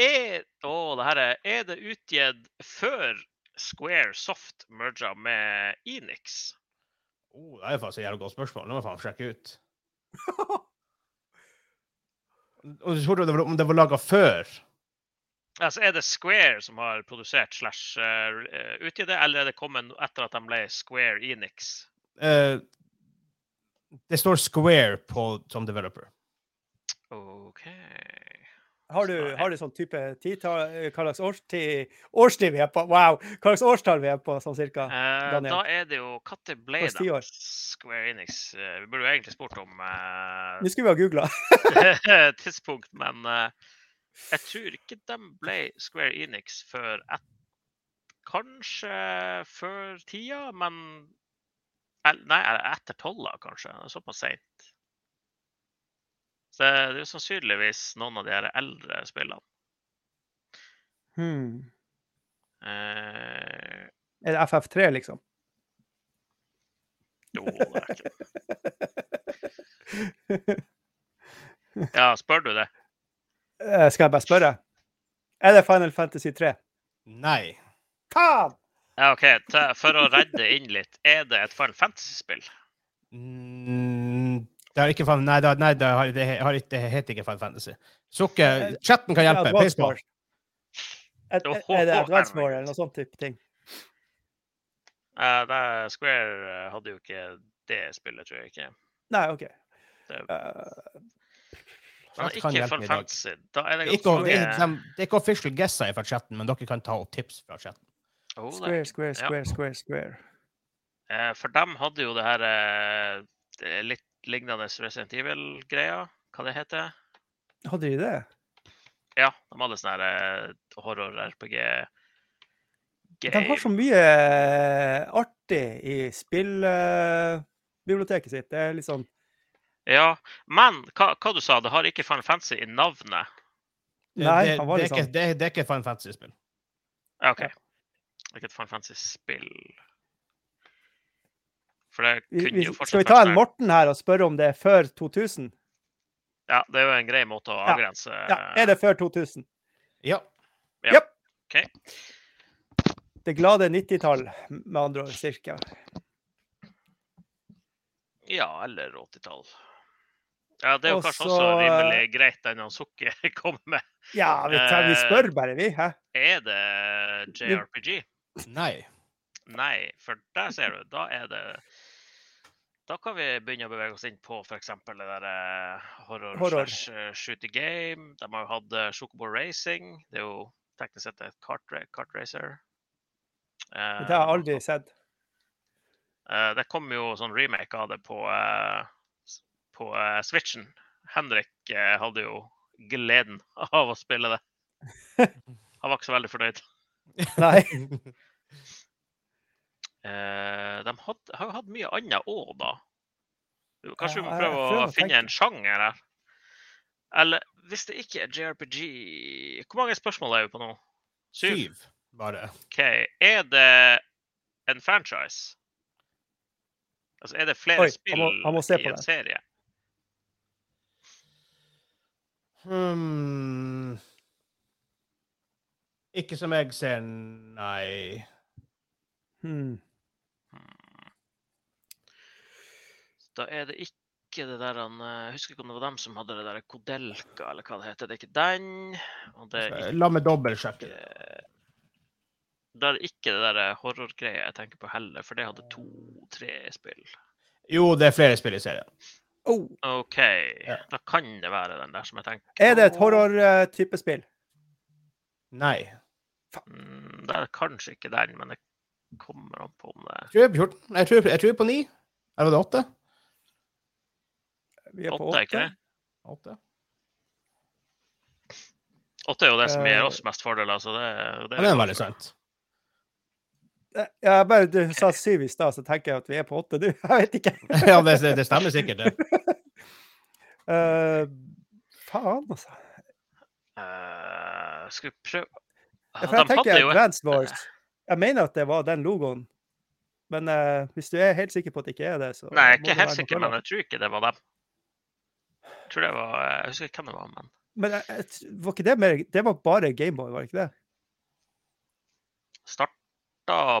Er, å, det her er, er det utgitt før Square Soft merga med Enix?
Oh, det er faktisk et jævlig godt spørsmål. Nå må jeg faen sjekke ut. *laughs* Og du spurte om det var- om det var laga før.
Altså, Er det Square som har produsert slash eh, utgitt det, eller er det kommet etter at de ble Square Enix?
Eh, det står Square på som developer.
OK
Har du, har du sånn type titall Hva slags årstid, årstid vi er på? Wow! Hva slags årstall vi er på, sånn cirka?
Eh,
Daniel.
Da er det jo Når ble
Hvilket
de
tiår?
Square Enix? Eh, Vi burde jo egentlig spurt om eh,
Nå skulle vi ha googla.
*laughs* tidspunkt, men eh, jeg tror ikke de ble Square Enix før et, Kanskje før tida, men el- Nei, er det etter tolva, kanskje. Det er Såpass seint. Så det er jo sannsynligvis noen av de her eldre spillene.
Hmm.
Eh,
Er det FF3, liksom?
jo, det er ikke Ja, spør du det?
Eh, Skal jeg bare spørre? Er det Final Fantasy 3?
Nei.
Faen!
Ja, OK, ta- for å redde inn litt. Er det et Final Fantasy-spill?
Mm, det er ikke fan, nei, det, er- nei, det, har, det, har ikke, det heter ikke Final Fantasy. Sukker, chatten kan hjelpe. Pis på.
Advanced Wars. Er, er, er det Advance War eller noe sånt type ting?
Eh, nei, Square eh, hadde jo ikke det spillet, tror jeg ikke.
Nei, OK.
Det-
Eh,
Men
Chat
ikke
kan hjelpe
Final
meg i dag.
Fantasy. Da er det
Ikke,
ganske
det, er-
mange-
de- det er ikke official guesser fra chatten, men dere kan ta opp tips fra chatten.
Jo, det er
square,
ikke-
square,
ja.
square, square, square.
Oh, Eh, For dem hadde jo det her eh, det er litt lignende Resident Evil-greia. Hva det heter
Hadde de det?
Ja, de hadde sånn her eh, horror-RPG.
De har så mye eh, artig i spillbiblioteket sitt. Det er litt sånn
Ja, men hva, hva du sa, det har ikke Final Fantasy i navnet?
Det,
Nei,
det,
han var
det, er
litt
ikke,
sånn.
det, er- det er ikke et Final Fantasy-spill.
Ja, OK.
Ja.
Det er Ikke et Final Fantasy-spill. For det
Vi,
kunne
vi,
jo fortsatt
skal vi ta
vært sånn
en
det.
Morten her og spørre om det er før 2000?
Ja, det er jo en grei måte å
Ja.
avgrense
Ja, er
Eh.
det før 2000?
Ja.
Det glade 90-tall, med andre ord, cirka.
Ja, eller 80-tall. Ja, det er jo
Og
kanskje
så,
også rimelig greit den han Sukker *laughs* kommer med.
Ja, vi, tar, vi
Eh,
spør bare, vi. Hæ?
Er det JRPG?
Nei.
Nei, for der ser du, da er det Da kan vi begynne å bevege oss inn på f.eks. det der eh, horror,
Horror.
slash eh, shoot the game. De har jo hatt eh, Chocobo Racing. Det er jo teknisk sett et kartracer. Kart racer. Eh,
Det har jeg aldri sett.
Eh, det kom jo sånn remake av det på, eh, s- på eh, Switchen. Henrik eh, hadde jo gleden *laughs* av å spille
*laughs*
det. Han var ikke så veldig fornøyd.
Nei. *laughs*
Eh, de had, har jo hatt mye annet òg, da. Kanskje vi må
Ja, jeg- jeg
prøve
prøver
å
å
finne
tenke.
en sjanger her? Eller hvis det ikke er JRPG Hvor mange spørsmål er vi på nå? Syv?
Syv, bare.
OK. Er det en franchise? Altså, er det flere
Oi, han
spill
må- han må se
i
på
en
det.
serie?
Hmm. Ikke som jeg ser, nei.
Hmm.
Da er det ikke det der han eh, Jeg husker ikke om det var dem som hadde det der Kodelka, eller hva det heter. Det er ikke den. Og det er
La meg dobbeltsjekke.
ikke Da er det ikke det der eh, horrorgreia jeg tenker på heller, for det hadde to-tre spill.
Jo, det er flere spill i serien.
Oh.
OK, da kan det være den der som jeg tenker
Er det et
på.
horror-type spill?
Nei.
Mm, det er kanskje ikke den, men det kommer an på om det
Jeg tror jeg er 14. Jeg tror, jeg tror på 9. Eller var det 8?
Vi er på
Åtte er ikke
åtte.
det? Åtte er jo det som
Eh,
gir oss mest fordeler, så det, det,
Ja, det er veldig sant. *laughs*
Eh, Ja, bare du sa syv i stad, så tenker jeg at vi er på åtte nå. *laughs* Jeg vet ikke.
Ja, det, det, det stemmer sikkert, det.
Eh, faen, altså.
Eh, skal vi prøve
Ja,
ja,
for jeg
De hadde
tenker
jo et
Advanced Wars. Jeg mener at det var den logoen. Men eh, hvis du er helt sikker på at det ikke er det, så
Nei, jeg er
må
ikke
det
helt
være noe
sikker, men
annet.
jeg tror ikke det var dem. Jeg tror det var eh, Jeg husker ikke hvem det var, men
Men eh, jeg, jeg, t- var ikke det mer Det var bare Gameboy, var det ikke det?
starta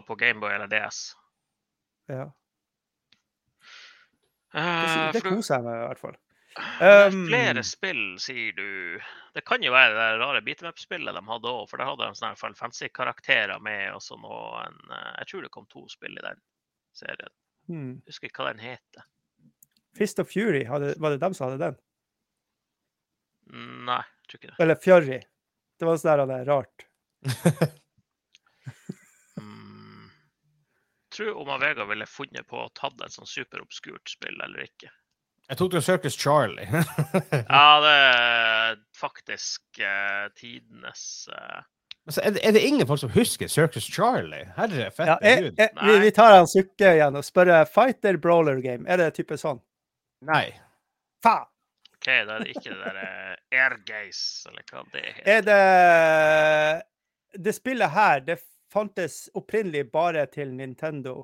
på Gameboy eller DS.
Ja. Det,
Eh,
sy- det
for du-
koser jeg meg i hvert fall.
Det er
Um,
flere spill, sier du. Det kan jo være det der rare beatmap-spillet de hadde òg, for der hadde de sånne Final Fantasy-karakterer med. og sånn, og en, eh, Jeg tror det kom to spill i den serien.
Hmm.
Jeg husker ikke hva den heter.
Fist of Fury, hadde, var det dem som hadde den?
Nei, jeg tror ikke det.
Eller Fury. Det var sånn der han er rart.
Mm. Tror om Vega ville funnet på å tatt et sånn superobskurt spill eller ikke.
Jeg tok til Circus Charlie. *laughs*
Ja, det er faktisk eh, tidenes eh,
Altså, er, det- er det ingen folk som husker Circus Charlie? Herre fette
Ja, jeg,
gud.
jeg, vi, vi tar han sukke igjen og spør eh, Fighter Brawler Game. Er det type sånn?
Nei.
Faen!
OK, da er det ikke det derre Airgaze, eller hva det heter.
Er det Det spillet her, det fantes opprinnelig bare til Nintendo.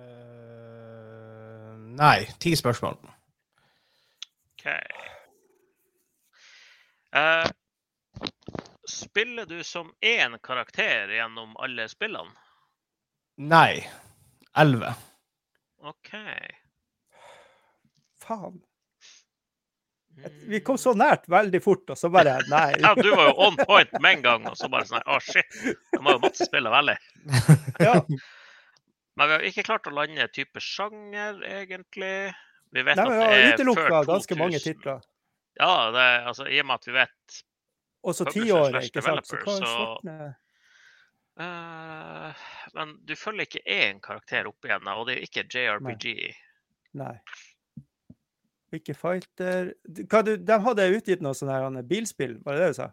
Eh, nei. Ti spørsmål.
OK. Eh, spiller du som én karakter gjennom alle spillene?
Nei. Elleve.
OK.
Faen. Vi kom så nært veldig fort, og så bare Nei.
Mm. *laughs* ja, du var jo on point med en gang, og så bare sånn Å, shit. De har jo masse spill å velge i.
Ja,
Men vi har ikke klart å lande type sjanger, egentlig. Vi vet
nei, men
at det
jeg
er
utelukka
før
ganske mange
2000.
titler.
Ja, det, er- altså, i og med at vi vet
Og så
Publisher slash
tiåret, ikke sant. Så
developer,
hva er
så-
svarten, eh?
eh, Men du følger ikke én karakter opp igjen, og det er jo ikke JRPG.
Nei. Ikke Fighter hva du, De hadde utgitt noe sånn her han, bilspill, var det det du sa?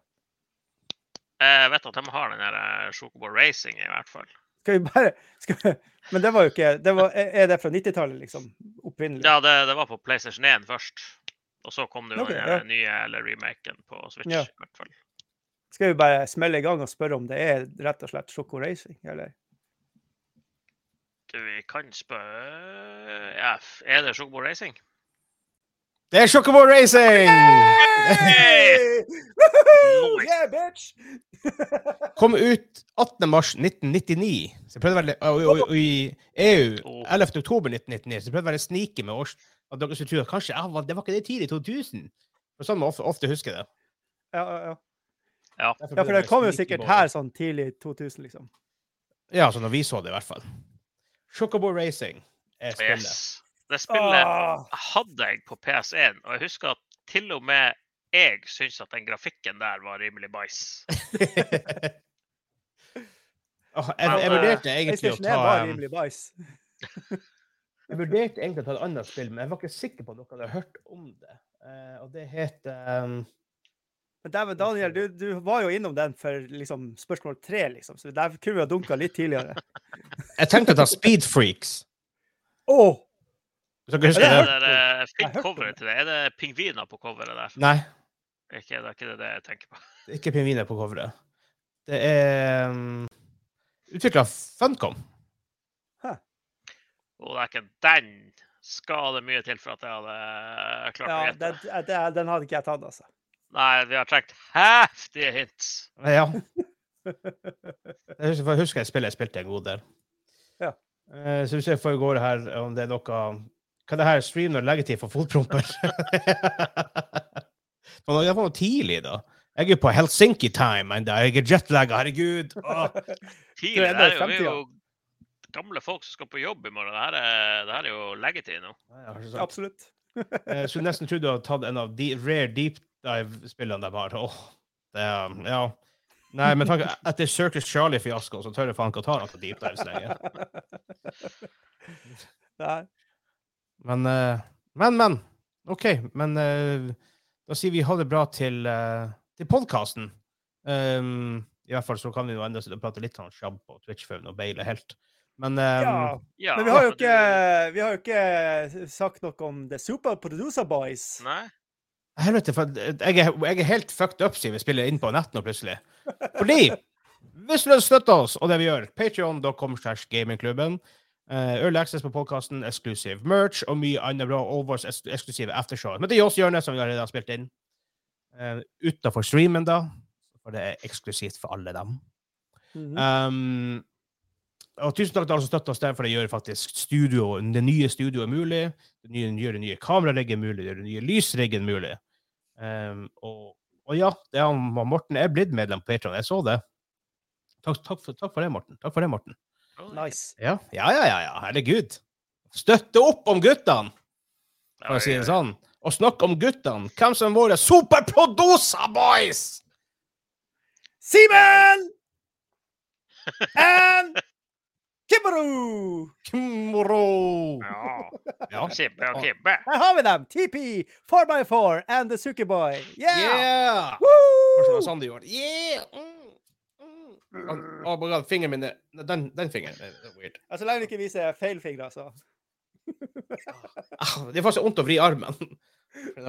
Jeg vet at de har den der eh, Chocobo Racing, i hvert fall.
Skal vi bare skal vi, Men det var jo ikke det var, Er er det fra 90-tallet, liksom? Opprinnelig?
Ja, det, det var på PlayStation 1 først. Og så kom det jo
Ok,
den
ja.
her nye eller remaken på Switch.
Ja.
i hvert fall.
Skal vi bare smelle i gang og spørre om det er rett og slett Choco Racing, eller?
Du, vi kan spørre ja, f- Er det Chocobo
*laughs*
Racing?
Det er Chocobo Racing!
Hey!
Woohoo!
Nice.
*laughs* Yeah, bitch!
Kom ut 18. mars 1999. Så jeg prøvde å være litt, og, og, og, og i EU
Åh.
11. oktober 1999. Så jeg prøvde å være litt sneaky med års... At dere skulle tro at kanskje ah, det var ikke det tidlig i 2000? For sånn man ofte, ofte husker det.
Ja, ja, ja.
Ja.
Derfor prøvde
ja, for
jeg å
det
være
kom jo
sneaky
sikkert
på-
her sånn tidlig 2000, liksom.
Ja, altså når vi så det, i hvert fall. Chocobo Racing er spillet.
Yes. Det spillet
Ah,
hadde jeg på PS1, og jeg husker at til og med jeg syns at den grafikken der var rimelig bæsj.
*laughs* Åh, jeg, jeg
Men, eh,
vurderte egentlig å
PlayStation 1
ta
var
em,
rimelig bæsj.
Jeg vurderte egentlig å ta et annet spill, men jeg var ikke sikker på om dere hadde hørt om det. Eh, og det heter em,
Men dæven, Daniel, du, du var jo innom den for liksom, spørsmål tre, liksom, så der kunne vi ha dunka
*laughs*
litt tidligere.
Jeg tenkte å ta Speed Freaks.
Å!
Hvis dere husker
Er
Ja,
det?
det der, eh,
Jeg har
fint
hørt om
coveret til det? Er det pingviner på coveret der?
Nei,
Ikke, det er ikke det det jeg tenker på.
det er ikke pingviner på coveret. Det er um, utvikla av Funcom.
Og det er ikke den skal det mye til for at jeg hadde eh, klart å
Ja,
gjette.
den, den- den hadde ikke jeg tatt, altså.
Nei, vi har trengt heftige hints.
Ja. Jeg husker, for jeg husker jeg spillet jeg spilte en god del.
Ja.
Eh, så vi ser for i går her om det er noe Hva er det her streamer og leggetid for fotpromper? *laughs* Men det var noe tidlig, da. Jeg er på Helsinki-time ennå. Jeg er jetlagga, herregud.
*laughs*
Åh.
Tidlig,
enda
det
i
her er jo, vi er
50-åra.
jo gamle folk som skal på jobb i morgen. Det her er, det her er jo leggetid nå.
Nei, jeg har ikke sagt.
Absolutt.
Eh, så nesten trodde du hadde tatt en av de rare deep dive-spillene de har. Åh, Det, er- ja. Nei, men tanke, etter Circus Charlie-fiaskoen så tør jeg faen ikke å ta noe deep dives lenger.
Nei.
Men, eh, men, men. OK. Men eh, da sier vi ha det bra til, eh, til podkasten. I hvert fall så kan vi jo enda sitte og prate litt sånn sjabb på Twitch før vi nå beiler helt. Men eh,
Ja.
Ja,
Men
*laughs*
vi har jo
for
ikke,
du-
vi har jo ikke sagt noe om The Super Producer Boys.
Nei?
Helvete, for eh, jeg er, jeg er helt fucked up siden vi spiller inn på nett nå, plutselig. Fordi hvis du vil støtte oss og det vi gjør, patreon.com slash gamingklubben, eh, early access på podkasten, eksklusiv merch og mye annet bra, og vår eks- eksklusive aftershow. Men det er oss hjørnet som vi allerede har spilt inn. Eh, Utafor streamen, da. For det er eksklusivt for alle dem.
Mhm.
Um, og tusen takk til alle som støtter oss der, for det gjør faktisk studio, det nye studioet mulig. Det nye, gjør det nye kamerariggen mulig, det gjør det nye lysriggen mulig. Um, og, og ja, det er, han- han Morten er blitt medlem på Patreon, jeg så det. Takk, takk, for, takk for det, Morten. Takk for det, Morten.
Nice.
Ja, ja, ja, ja, ja. herregud. Støtte opp om guttene, for
Oi,
å si det
oi, oi.
sånn. Og snakk om guttene, hvem som er våre superproducer boys!
Simen! And Kimmeru!
Kimro!
Ja.
Ja.
Kibbe og kibbe.
Der har vi dem! TP, 4x4 and The Suki Boy. Yeah!
yeah! Kanskje det var
Woo!
sånn du gjorde det. Yeah! Mm, mm. Å, å my god, fingeren min er- Nei, Den, den fingeren er er weird.
Ja, Så Altså, lenge du ikke viser feil fingre, altså.
Au, Ah, Det er faktisk vondt å vri armen. Det,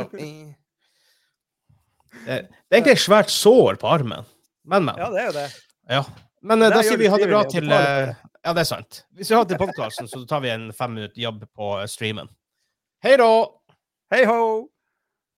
det er egentlig et svært sår på armen. Men,
Ja,
men.
det er jo det.
Ja. Men eh,
Det
da
gjør
sier
du
vi ha det bra
frivillig, og
til
betaler for
eh, Ja, det er sant. Hvis vi har det til podkasten, så tar vi en fem minutter jobb på eh, streamen. Hei da!
Hei ho!